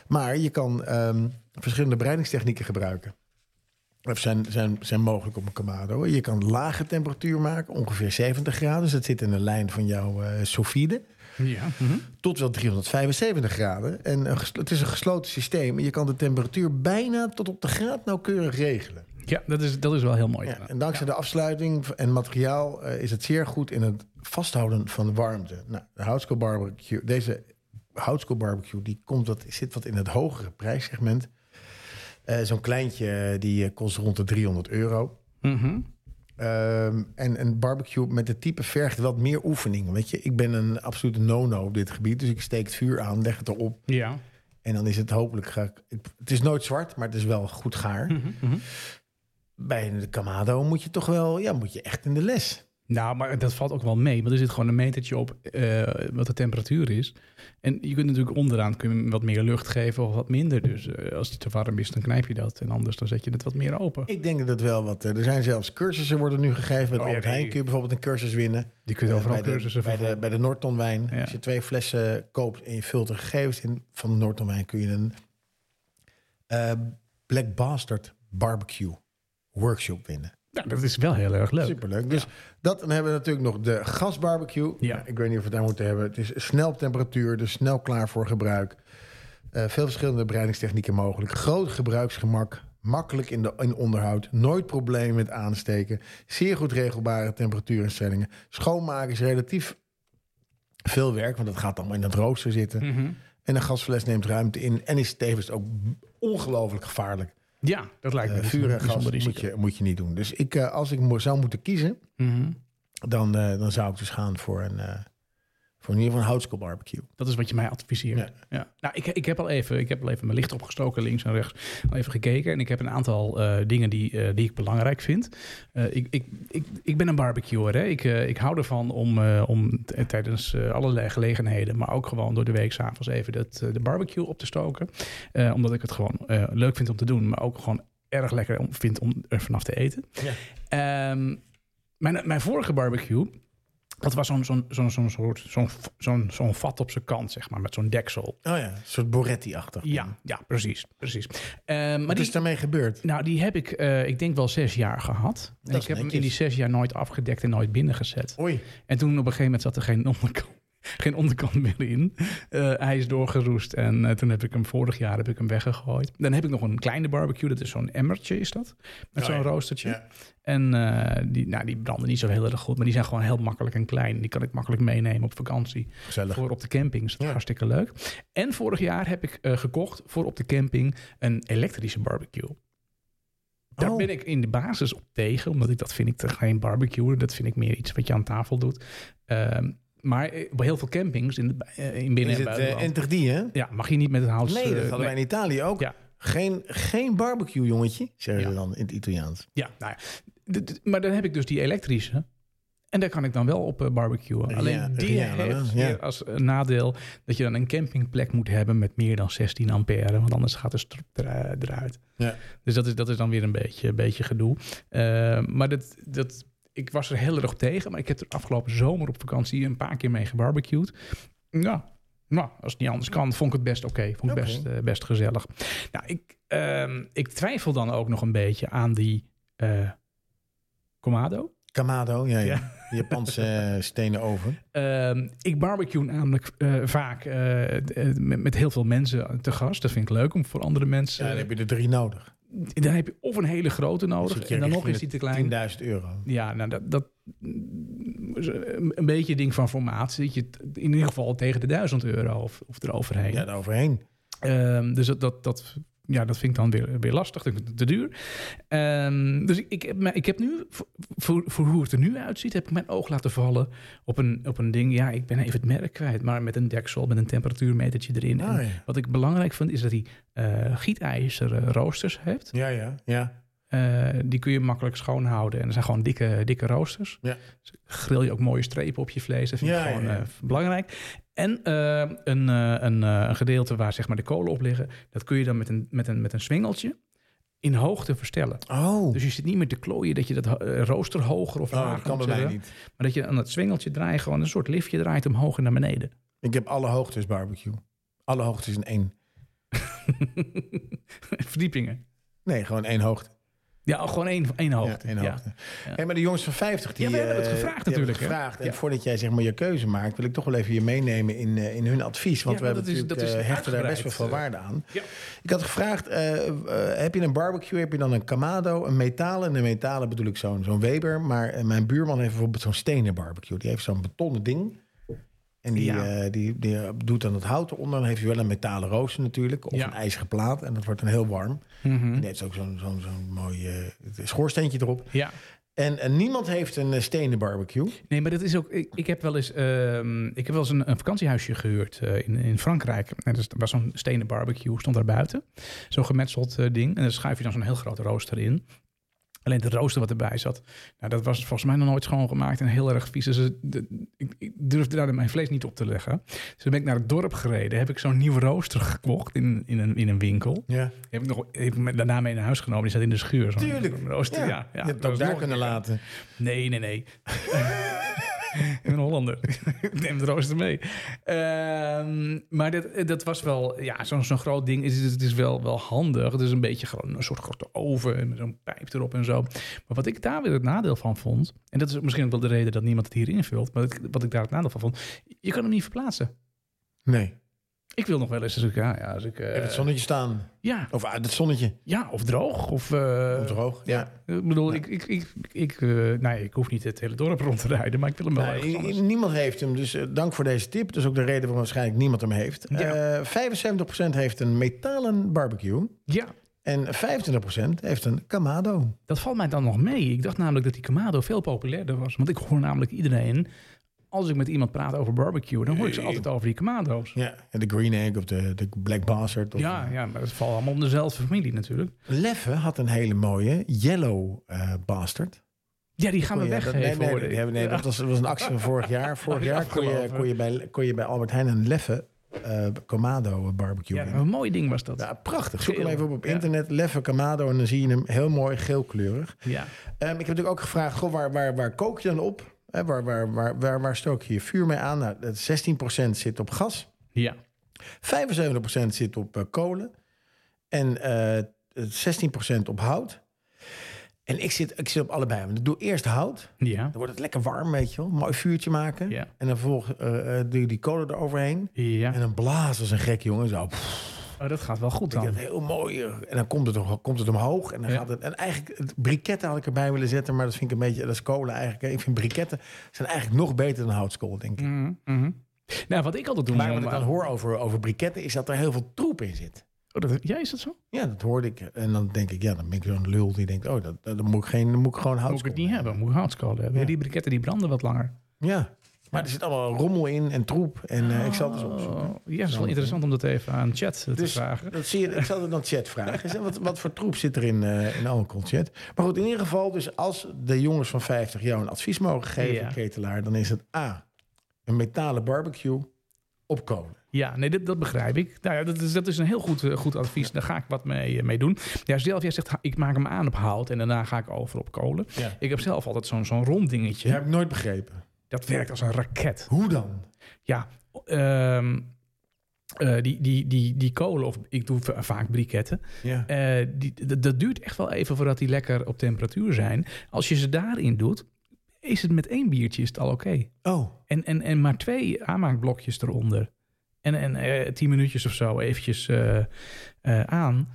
Maar je kan ehm, verschillende bereidingstechnieken gebruiken. Of zijn, zijn, zijn mogelijk op een kamado. Je kan lage temperatuur maken, ongeveer 70 graden. Dus dat zit in de lijn van jouw eh sous vide *laughs* Ja. mhm. tot wel 375 graden. En een geslo- het is een gesloten systeem. En je kan de temperatuur bijna tot op de graad nauwkeurig regelen. Ja, dat is, dat is wel heel mooi. Ja, en dankzij de afsluiting v- en materiaal eh, is het zeer goed in het vasthouden van warmte. Nou, de houtskool barbecue, deze houtskool barbecue, die komt wat, zit wat in het hogere prijssegment. Eh, Zo'n kleintje eh, die eh, kost rond de 300 euro. Mhm. Ehm, en een barbecue met dit type vergt wat meer oefening. Weet je, ik ben een absolute no-no op dit gebied. Dus ik steek het vuur aan, leg het erop. ja. En dan is het hopelijk... Ga, ik- het is nooit zwart, maar het is wel goed gaar. Mhm, mhm. Bij de Kamado moet je toch wel... Ja, moet je echt in de les. Nou, maar dat valt ook wel mee. Want er zit gewoon een metertje op eh, wat de temperatuur is. En je kunt natuurlijk onderaan kun je hem wat meer lucht geven of wat minder. Dus eh, als het te warm is, dan knijp je dat. En anders dan zet je het wat meer open. Ik denk dat het wel wat... eh, Er zijn zelfs cursussen worden nu gegeven. Bij de Oh, ja, Albert nee. Heijn kun je bijvoorbeeld een cursus winnen. Je kunt Eh, overal bij de- cursussen bij, de, voor- bij de Noordtonwijn. Ja. Als je twee flessen koopt en je vult er gegevens in van de Noordtonwijn... kun je een eh, Black Bastard barbecue workshop winnen. Nou, dat is wel heel erg leuk. Superleuk. Dus dat dan hebben we natuurlijk nog de gasbarbecue. Ja. Nou, Ik weet niet of we het daar moeten hebben. Het is snel op temperatuur, dus snel klaar voor gebruik. Eh, veel verschillende bereidingstechnieken mogelijk. Groot gebruiksgemak. Makkelijk in, de, in onderhoud. Nooit problemen met aansteken. Zeer goed regelbare temperatuurinstellingen. Schoonmaken is relatief veel werk, want dat gaat allemaal in het rooster zitten. Mhm. En een gasfles neemt ruimte in en is tevens ook ongelooflijk gevaarlijk. Ja, dat lijkt me dus Eh, vuur en gas bijzonder moet risico. je, moet je niet doen. Dus ik, eh, als ik mo- zou moeten kiezen, Mhm. dan, eh, dan zou ik dus gaan voor een, eh, voor in ieder geval een houtskool barbecue. Dat is wat je mij adviseert. Ja. Ja. Nou, ik, ik, heb al even, ik heb al even mijn licht opgestoken, links en rechts. Al even gekeken. En ik heb een aantal eh, dingen die, eh, die ik belangrijk vind. Eh, ik, ik, ik, ik ben een barbecuer. Hè? Ik, eh, ik hou ervan om, eh, om t- eh, tijdens eh, allerlei gelegenheden, maar ook gewoon door de week s'avonds even dat, eh, de barbecue op te stoken. Eh, omdat ik het gewoon eh, leuk vind om te doen, maar ook gewoon erg lekker om, vind om er vanaf te eten. Ehm, mijn, mijn vorige barbecue, dat was zo'n zo'n zo'n zo'n soort zo'n zo'n zo'n vat op zijn kant, zeg maar, met zo'n deksel. Oh ja, een soort Boretti-achtig. Ja, ja, precies, precies. Ehm, maar Wat die, Mm. is daarmee gebeurd? nou, die heb ik, eh, ik denk wel zes jaar gehad. En Dat ik is heb hem in netjes. die zes jaar nooit afgedekt en nooit binnengezet. Oei. En toen op een gegeven moment zat er geen onderkant, *laughs* geen onderkant meer in. Eh, hij is doorgeroest en eh, toen heb ik hem vorig jaar heb ik hem weggegooid. Dan heb ik nog een kleine barbecue, dat is zo'n emmertje is dat. Met Oh zo'n ja. roostertje. Ja. En eh, die, nou, die branden niet zo heel erg goed, maar die zijn gewoon heel makkelijk en klein. Die kan ik makkelijk meenemen op vakantie. Gezellig. Voor op de camping is dat Nou. Ja. hartstikke leuk. En vorig jaar heb ik eh, gekocht voor op de camping een elektrische barbecue. Daar Oh. ben ik in de basis op tegen, omdat ik dat vind ik te- geen barbecue. Dat vind ik meer iets wat je aan tafel doet. Ehm, maar eh, bij heel veel campings in, de, eh, in binnen- en Is het eh, buitenland... Enter die, hè? ja, mag je niet met het hout... Nee, dat eh, hadden wij nee. in Italië ook. Ja. Geen, geen barbecue, jongetje, zeggen Ja. ze dan in het Italiaans. Ja, nou ja. D- d- maar dan heb ik dus die elektrische. En daar kan ik dan wel op eh, barbecuen. Ja, Alleen die ja, heeft ja. weer als eh, nadeel dat je dan een campingplek moet hebben met meer dan 16 ampère. Want anders gaat de strop er- eruit. Ja. Dus dat is, dat is dan weer een beetje, een beetje gedoe. Eh, maar dat, dat, ik was er heel erg op tegen. Maar ik heb er afgelopen zomer op vakantie een paar keer mee gebarbecued. Ja, Nou, als het niet anders kan, vond ik het best oké. Vond ik Oké. best, eh, best gezellig. Nou, ik, ehm, ik twijfel dan ook nog een beetje aan die eh Comado. Kamado, ja, ja. Ja. Die Japanse eh, stenen oven. Ehm, ik barbecue namelijk eh, vaak eh, d- eh, met, met heel veel mensen te gast. Dat vind ik leuk om voor andere Ja, mensen. dan heb je er drie nodig. Dan heb je of een hele grote zit nodig. je En dan nog richting is die te klein. 10.000 euro. Ja, nou, dat, dat is een een beetje een ding van formaat. Zit je t- in ieder geval tegen de 1000 euro of, of eroverheen. Ja, daaroverheen. Ehm, dus dat, dat, dat, ja, dat vind ik dan weer, weer lastig. Dat vind ik te duur. Ehm, dus ik, ik, heb me- ik heb nu, voor, voor, voor hoe het er nu uitziet, heb ik mijn oog laten vallen op een, op een ding. Ja, ik ben even het merk kwijt, maar met een deksel, met een temperatuurmetertje erin. En Ah, ja. wat ik belangrijk vind, is dat hij eh gietijzeren roosters heeft. Ja, ja, ja. Eh, die kun je makkelijk schoonhouden. En dat zijn gewoon dikke, dikke roosters. Ja. Dus grill je ook mooie strepen op je vlees. Dat vind Ja, ik gewoon ja, ja. eh, belangrijk. En eh, een, eh, een, eh, een gedeelte waar zeg maar, de kolen op liggen... dat kun je dan met een, met een, met een swingeltje in hoogte verstellen. Oh, Dus je zit niet meer te klooien dat je dat ho- eh, rooster hoger of oh lager dat kan bij moet mij zetten. niet. Maar dat je aan dat swingeltje draait, gewoon een soort liftje draait omhoog en naar beneden. *laughs* Ik heb alle hoogtes barbecue. Alle hoogtes in één. Verdiepingen. Nee, gewoon één hoogte. Ja, gewoon één, één hoogte. Ja, één Ja. hoogte. Hé, maar de jongens van 50 die. Ja, we hebben het eh, gevraagd die hebben natuurlijk, hè? het gevraagd. En Ja. voordat jij zeg maar je keuze maakt, wil ik toch wel even je meenemen in, eh, in hun advies. Want Ja, we want hebben dat is- natuurlijk, dat is eh, hechten daar best wel uitgebreid, veel eh, waarde aan. ja. Ik had gevraagd: eh, eh, heb je een barbecue? Heb je dan een Kamado, een metalen? En een metalen bedoel ik zo'n zo'n Weber. Maar eh, mijn buurman heeft bijvoorbeeld zo'n stenen barbecue. Die heeft zo'n betonnen ding. En die, Ja. eh, die, die doet dan het hout eronder. Dan heeft hij wel een metalen rooster natuurlijk. Of Ja. een ijzeren plaat. En dat wordt dan heel warm. En Mhm. die heeft ook zo'n zo'n zo'n mooi eh, schoorsteentje erop. ja. En, eh, niemand heeft een eh, stenen barbecue. Nee, maar dat is ook. Ik, ik heb wel eens, ehm, ik heb wel eens een, een vakantiehuisje gehuurd eh, in, in Frankrijk. En er was zo'n stenen barbecue, stond daar buiten. Zo'n gemetseld eh, ding. En dan schuif je dan zo'n heel grote rooster in. Alleen het rooster wat erbij zat, nou, dat was volgens mij nog nooit schoongemaakt en heel erg vies. Dus eh, de- ik, ik durfde daar mijn vlees niet op te leggen. Dus toen ben ik naar het dorp gereden, heb ik zo'n nieuwe rooster gekocht in, in, een, in een winkel. Die Ja, heb ik nog, heb ik me daarna mee naar huis genomen, die zat in de schuur. Zo'n Tuurlijk, zo'n rooster, ja. ja, je hebt het Dat ook was daar nog- kunnen laten. Nee, nee, nee. ik ben Hollander. ik neem de rooster mee. Ehm, maar dat, dat was wel, ja, zo'n zo'n groot ding. is Het is wel, wel handig. Het is een beetje gewoon een soort grote oven en met zo'n pijp erop en zo. Maar wat ik daar weer het nadeel van vond, en dat is misschien ook wel de reden dat niemand het hier invult, maar het- wat ik daar het nadeel van vond, je kan hem niet verplaatsen. Nee. Ik wil nog wel eens, als ik, ja, ja, als ik, eh, Uit het zonnetje staan. ja, Of uit het zonnetje. ja, of droog, of, eh, Of droog. Ja. Ik bedoel, ik, ik, ik, ik, eh, nou, ja, ik hoef niet het hele dorp rond te rijden, maar ik wil hem wel Nou, ergens anders. i- i- niemand heeft hem, dus eh, dank voor deze tip. Dat is ook de reden waarom waarschijnlijk niemand hem heeft. Ja. Eh 75% heeft een metalen barbecue. Ja, En 25% heeft een Kamado. dat valt mij dan nog mee. Ik dacht namelijk dat die Kamado veel populairder was. Want ik hoor namelijk iedereen, als ik met iemand praat over barbecue, dan hoor ik ze altijd over die Kamado's. Ja. En de Green Egg of de, de Black Bastard. Of Ja, ja, maar dat valt allemaal onder dezelfde familie natuurlijk. Leffe had een hele mooie Yellow eh, Bastard. Ja, die gaan we Kon je Oh dat- weggeven. nee, hoor nee, ik. die hebben- nee, Ja. dat was, was een actie van vorig *laughs* jaar. Vorig Oh, ja, jaar kon je, afgelopen. kon, je bij, kon je bij Albert Heijn een Leffe eh Kamado barbecue Ja, winnen. een mooi ding was dat. Ja, prachtig. Zoek Geel. hem even op op Ja. internet. Leffe Kamado. En dan zie je hem heel mooi geelkleurig. Ja. Ehm, ik heb natuurlijk ook gevraagd, goh, waar, waar, waar kook je dan op? Hè, waar, waar, waar, waar, waar stook je je vuur mee aan? Nou, dat 16% zit op gas. ja. 75% zit op eh, kolen. En eh 16% op hout. En ik zit, ik zit op allebei. Want ik doe eerst hout. Ja. Dan wordt het lekker warm, weet je wel. Mooi vuurtje maken. Ja. En dan vervolgens eh, eh, doe je die kolen eroverheen. Ja. En dan blazen als een gek, jongen. Zo. Oh, dat gaat wel goed Ik dan. vind het heel mooi. En dan komt het, om- komt het omhoog. En, dan Ja. gaat het, en eigenlijk, het briketten had ik erbij willen zetten. Maar dat vind ik een beetje, dat is kolen eigenlijk. Ik vind briketten zijn eigenlijk nog beter dan houtskool, denk ik. Mhm, mhm. Nou, wat ik altijd doe... Maar om- wat ik dan hoor over, over briketten is dat er heel veel troep in zit. Oh, dat- ja, is dat zo? Ja, dat hoorde ik. En dan denk ik, ja, dan ben ik zo'n lul die denkt, oh, dat, dat, dan moet ik, geen, dan moet ik gewoon Moet ik houtskool. het niet hebben. Moet ik houtskolen hebben. Ja. Die briketten die branden wat langer. Ja, maar er zit allemaal rommel in en troep. En eh, ik zal het eens opzoeken. Oh, Ja, dat is wel interessant om dat even aan chat eh, te Dus vragen. dat zie je, ik zal het dan chat vragen. Zeg, Wat, wat voor troep zit er in, eh in alcohol chat? Maar goed, in ieder geval, dus als de jongens van 50 jou een advies mogen geven, Ja. ketelaar, dan is het A, een metalen barbecue op kolen. Ja, nee, dat, dat begrijp ik. Nou ja, dat is, dat is een heel goed, eh, goed advies. Daar ga ik wat mee, eh, mee doen. Ja, zelf, jij zegt, ha- ik maak hem aan op hout en daarna ga ik over op kolen. Ja. Ik heb zelf altijd zo'n zo'n rond dingetje. Dat heb ik nooit begrepen. Dat werkt als een raket. Hoe dan? Ja, ehm, eh, die, die, die, die kolen, of ik doe va- vaak briketten, Ja. eh, die, d- dat duurt echt wel even voordat die lekker op temperatuur zijn. Als je ze daarin doet, is het met één biertje is het al oké. Oh, En, en, en maar twee aanmaakblokjes eronder. En, en eh, tien minuutjes of zo eventjes eh, eh, aan.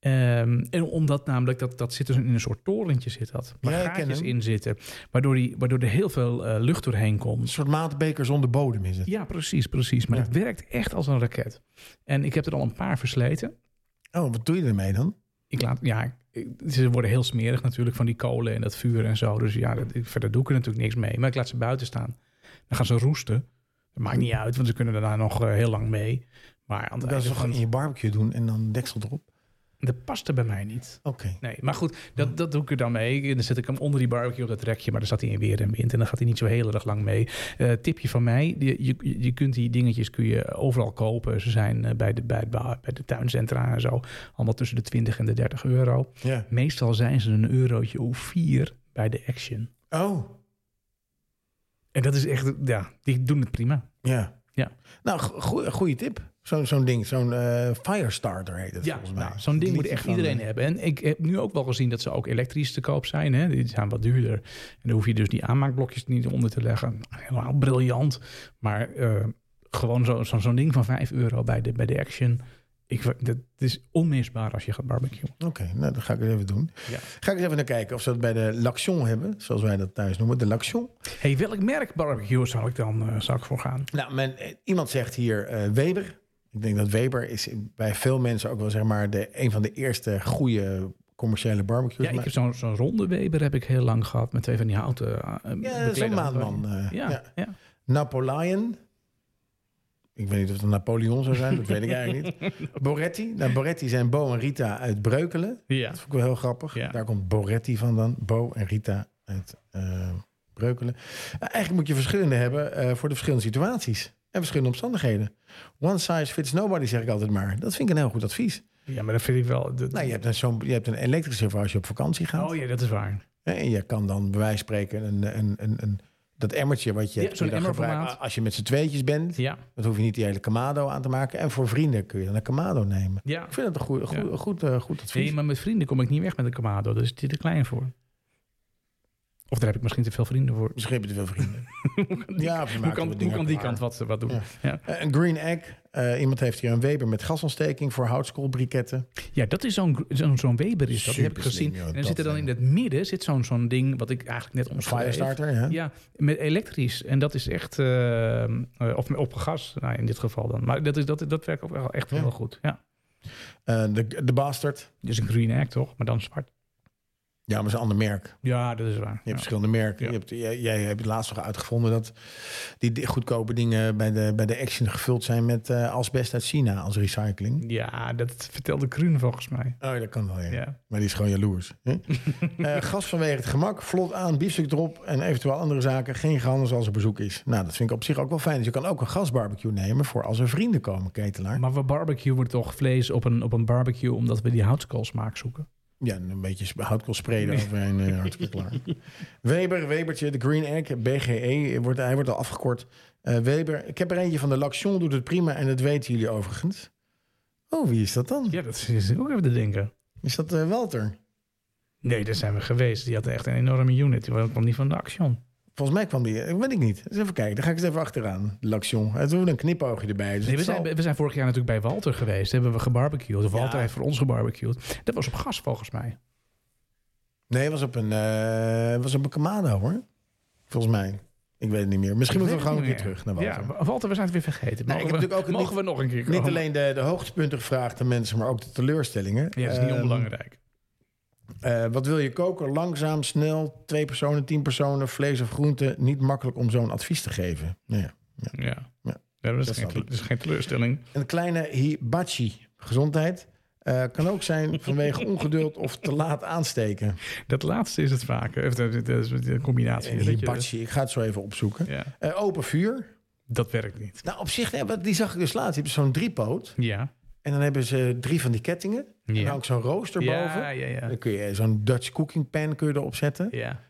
Ehm, en omdat namelijk, dat, dat zit dus in een soort torentje zit dat. Waar Ja, ik ken gaatjes hem. in zitten. Waardoor, die, waardoor er heel veel eh, lucht doorheen een komt. soort maatbeker zonder bodem is het. Ja, precies, precies. Maar Ja. het werkt echt als een raket. En ik heb er al een paar versleten. Oh, wat doe je ermee dan? Ik laat, ja, ik- ze worden heel smerig natuurlijk van die kolen en dat vuur en zo. Dus ja, dat, ik- verder doe ik er natuurlijk niks mee. Maar ik laat ze buiten staan. Dan gaan ze roesten. Dat maakt niet uit, want ze kunnen daarna nog eh, heel lang mee. Maar aan het Dat is einde toch gewoon in van, je barbecue doen en dan deksel erop. dat past er bij mij niet. Oké. Nee, maar goed, dat, dat doe ik er dan mee. En Dan zet ik hem onder die barbecue op dat rekje, maar dan zat hij in weer en wind. En dan gaat hij niet zo heel erg lang mee. Eh, tipje van mij, je, je, je kunt die dingetjes kun je overal kopen. Ze zijn eh, bij, de, bij, het bouw- bij de tuincentra en zo. Allemaal tussen de 20 en de 30 euro. Ja. Meestal zijn ze een eurotje of vier bij de Action. Oh, En dat is echt, ja, die doen het prima. ja. Ja. Nou, go- goede tip. Zo- Zo'n ding, zo'n eh, firestarter heet het Ja, volgens mij. nou, zo'n ding moet echt iedereen eh, hebben. En ik heb nu ook wel gezien dat ze ook elektrisch te koop zijn. Hè? Die zijn wat duurder. En dan hoef je dus die aanmaakblokjes er niet onder te leggen. Helemaal briljant. Maar eh, gewoon zo- zo'n zo'n ding van 5 euro bij de, bij de Action. Ik, ver- dat is onmisbaar als je gaat barbecuen. Oké, nou, dat ga ik eens even doen. Ja. Ga ik eens even naar kijken of ze dat bij de Laction hebben, zoals wij dat thuis noemen, de Laction. hey, welk merk barbecue zou ik dan eh, zou ik voor gaan? Nou, men, eh, iemand zegt hier eh, Weber. Ik denk dat Weber is bij veel mensen ook wel zeg maar de, een van de eerste goede commerciële barbecues. Ja, ik heb zo'n zo'n ronde Weber heb ik heel lang gehad. Met twee van die houten eh, ja, beklede zo'n handen. maandman. eh, Ja, ja. ja. ja. Napoleon. Ik weet niet of het een Napoleon zou zijn, dat weet ik *laughs* eigenlijk niet. Boretti. Nou, Boretti zijn Bo en Rita uit Breukelen. Dat vond ik wel heel grappig. Ja. Daar komt Boretti vandaan. Bo en Rita uit eh, Breukelen. Nou, eigenlijk moet je verschillende hebben eh, voor de verschillende situaties. En verschillende omstandigheden. One size fits nobody, zeg ik altijd maar. Dat vind ik een heel goed advies. Ja, maar dat vind ik wel... dat- Nou, je hebt een, zo'n, je hebt een elektrische voor als je op vakantie gaat. oh ja, dat is waar. Hè, En je kan dan bij wijze van spreken een, een, een, een, dat emmertje wat je Ja, hebt, zo'n kun je dan emmerformaat. gebruiken als je met z'n tweetjes bent. Ja, Dat hoef je niet die hele Kamado aan te maken. En voor vrienden kun je dan een Kamado nemen. ja. Ik vind dat een goed, goed, Ja. goed, eh, goed advies. Nee, maar met vrienden kom ik niet weg met een Kamado. dus Daar is dit te klein voor. Of daar heb ik misschien te veel vrienden voor. Misschien heb je te veel vrienden. ja, of je *laughs* Hoe kan, maakt er wat hoe dingen kan die klaar. kant wat, wat doen? Ja. Ja, ja. Eh, Een green egg. Eh, iemand heeft hier een Weber met gasontsteking voor houtskoolbriketten. dat is zo'n gr- zo'n zo'n Weber is dat. Die heb ik Super slim, gezien. joh, en dan dat zit er dan ding. in het midden zit zo'n zo'n ding wat ik eigenlijk net omschreef. Firestarter, ja. Ja, met elektrisch. En dat is echt... eh, eh, of op gas, nou, in dit geval dan. Maar dat, is, dat, dat werkt ook wel echt Ja. heel goed. Ja. Eh, de, de Bastard. Dus een green egg toch? Maar dan zwart. Ja, maar dat is een ander merk. Ja, dat is waar. Je hebt Ja. verschillende merken. Ja. Je hebt, jij, jij hebt laatst nog uitgevonden dat die di- goedkope dingen bij de, bij de Action gevuld zijn met eh, asbest uit China als recycling. Ja, dat vertelde Kruun volgens mij. Oh, dat kan wel, ja. Ja. Maar die is gewoon *laughs* jaloers. Hè? Eh, gas vanwege het gemak, vlot aan, biefstuk erop en eventueel andere zaken. Geen gehandels als er bezoek is. Nou, dat vind ik op zich ook wel fijn. Dus je kan ook een gasbarbecue nemen voor als er vrienden komen, ketelaar. Maar we barbecuen toch vlees op een, op een barbecue omdat we die houtskoolsmaak zoeken. Ja, een beetje sp- houtkool spreiden overheen. eh, hartstikke klaar. Weber, Webertje, de Green Egg, BGE. Wordt, hij wordt al afgekort. Eh, Weber, ik heb er eentje van de Laction, doet het prima. En dat weten jullie overigens. Oh, wie is dat dan? Ja, dat is ook even te denken. Is dat eh, Walter? Nee, daar zijn we geweest. Die had echt een enorme unit. Die kwam niet van de Action. Dus Volgens mij kwam die, ik weet ik niet. Eens even kijken, daar ga ik eens even achteraan. De Laction. Hij doet een knipoogje erbij. Dus Nee, we, het zijn, zal- we zijn vorig jaar natuurlijk bij Walter geweest. Hebben we gebarbecued. Walter Ja. heeft voor ons gebarbecued. Dat was op gas volgens mij. Nee, het was op een, eh was op een Kamado hoor. Volgens mij. Ik weet het niet meer. Misschien Ik moeten we weet gewoon het een keer niet terug naar meer. Walter. Ja, Walter, we zijn het weer vergeten. Nou, ik Mogen, heb we, natuurlijk ook mogen niet- we nog een keer komen? Niet alleen de, de hoogtepunten gevraagd aan mensen, maar ook de teleurstellingen. Ja, dat is niet Ehm, onbelangrijk. Eh, wat wil je koken? Langzaam, snel, twee personen, tien personen, vlees of groente. Niet makkelijk om zo'n advies te geven. Nou ja. Ja. ja. Ja. dat, Dat is geen, snap ik. dat is geen teleurstelling. Een kleine hibachi, gezondheid, eh, kan ook *laughs* zijn vanwege ongeduld of te laat aansteken. Dat laatste is het vaker. Of dat dat is een combinatie. Een Dat je- hibachi, ik ga het zo even opzoeken. ja, Eh, open vuur. dat werkt niet. Nou, op zich, eh, wat- die zag ik dus laatst. Die hebben zo'n driepoot. Ja. En dan hebben ze drie van die kettingen. En Ja. dan ook zo'n rooster boven. Ja, ja, ja. Dan kun je zo'n Dutch cooking pan kun je erop zetten. Ja.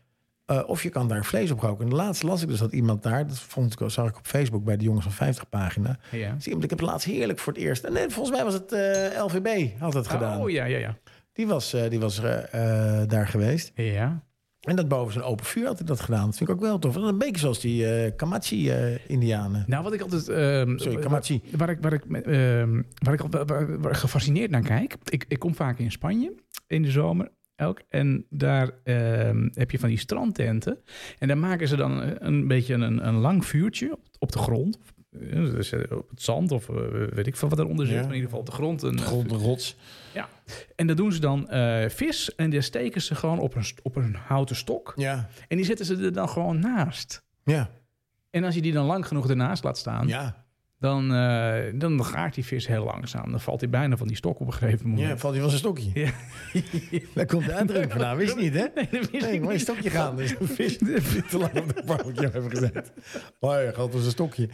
Eh, of je kan daar vlees op roken. En laatst las ik dus dat iemand daar, dat vond ik, zag ik op Facebook bij de jongens van 50 pagina. Ja. Zie iemand, ik heb het laatst heerlijk voor het eerst. En nee, volgens mij was het eh, LVB had het gedaan. Oh ja, ja, ja. Die was, eh, die was eh, eh, daar geweest. Ja. En dat boven zijn open vuur had hij dat gedaan. Dat vind ik ook wel tof. En een beetje zoals die eh Kamachi-Indianen. Nou, wat ik altijd. ehm, Sorry, Kamachi. Waar ik, waar ik, met, ehm, waar ik al- waar- waar- waar ik gefascineerd naar kijk. Ik, ik kom vaak in Spanje in de zomer ook. En daar ehm, heb je van die strandtenten. En daar maken ze dan eh, een beetje een, een lang vuurtje op, op de grond. Eh, Dus eh, op het zand of eh, weet ik veel wat eronder zit. Ja. Maar in ieder geval op de grond. Een, Grond, rots. Ja. En dat doen ze dan eh, vis. En daar steken ze gewoon op een, st- op een houten stok. Ja, En die zetten ze er dan gewoon naast. ja, En als je die dan lang genoeg ernaast laat staan, ja. dan, eh, dan gaart die vis heel langzaam. Dan valt hij bijna van die stok op een gegeven moment. Ja, valt hij van zijn stokje. Ja. *laughs* Daar komt de uitdruk vandaan, wist je niet, hè? *laughs* Nee, dat wist Nee, ik maar je niet. stokje *laughs* gaan. Dus een vis die te lang op de barbecue hebben gezet. Oh ja, gaat op zijn stokje.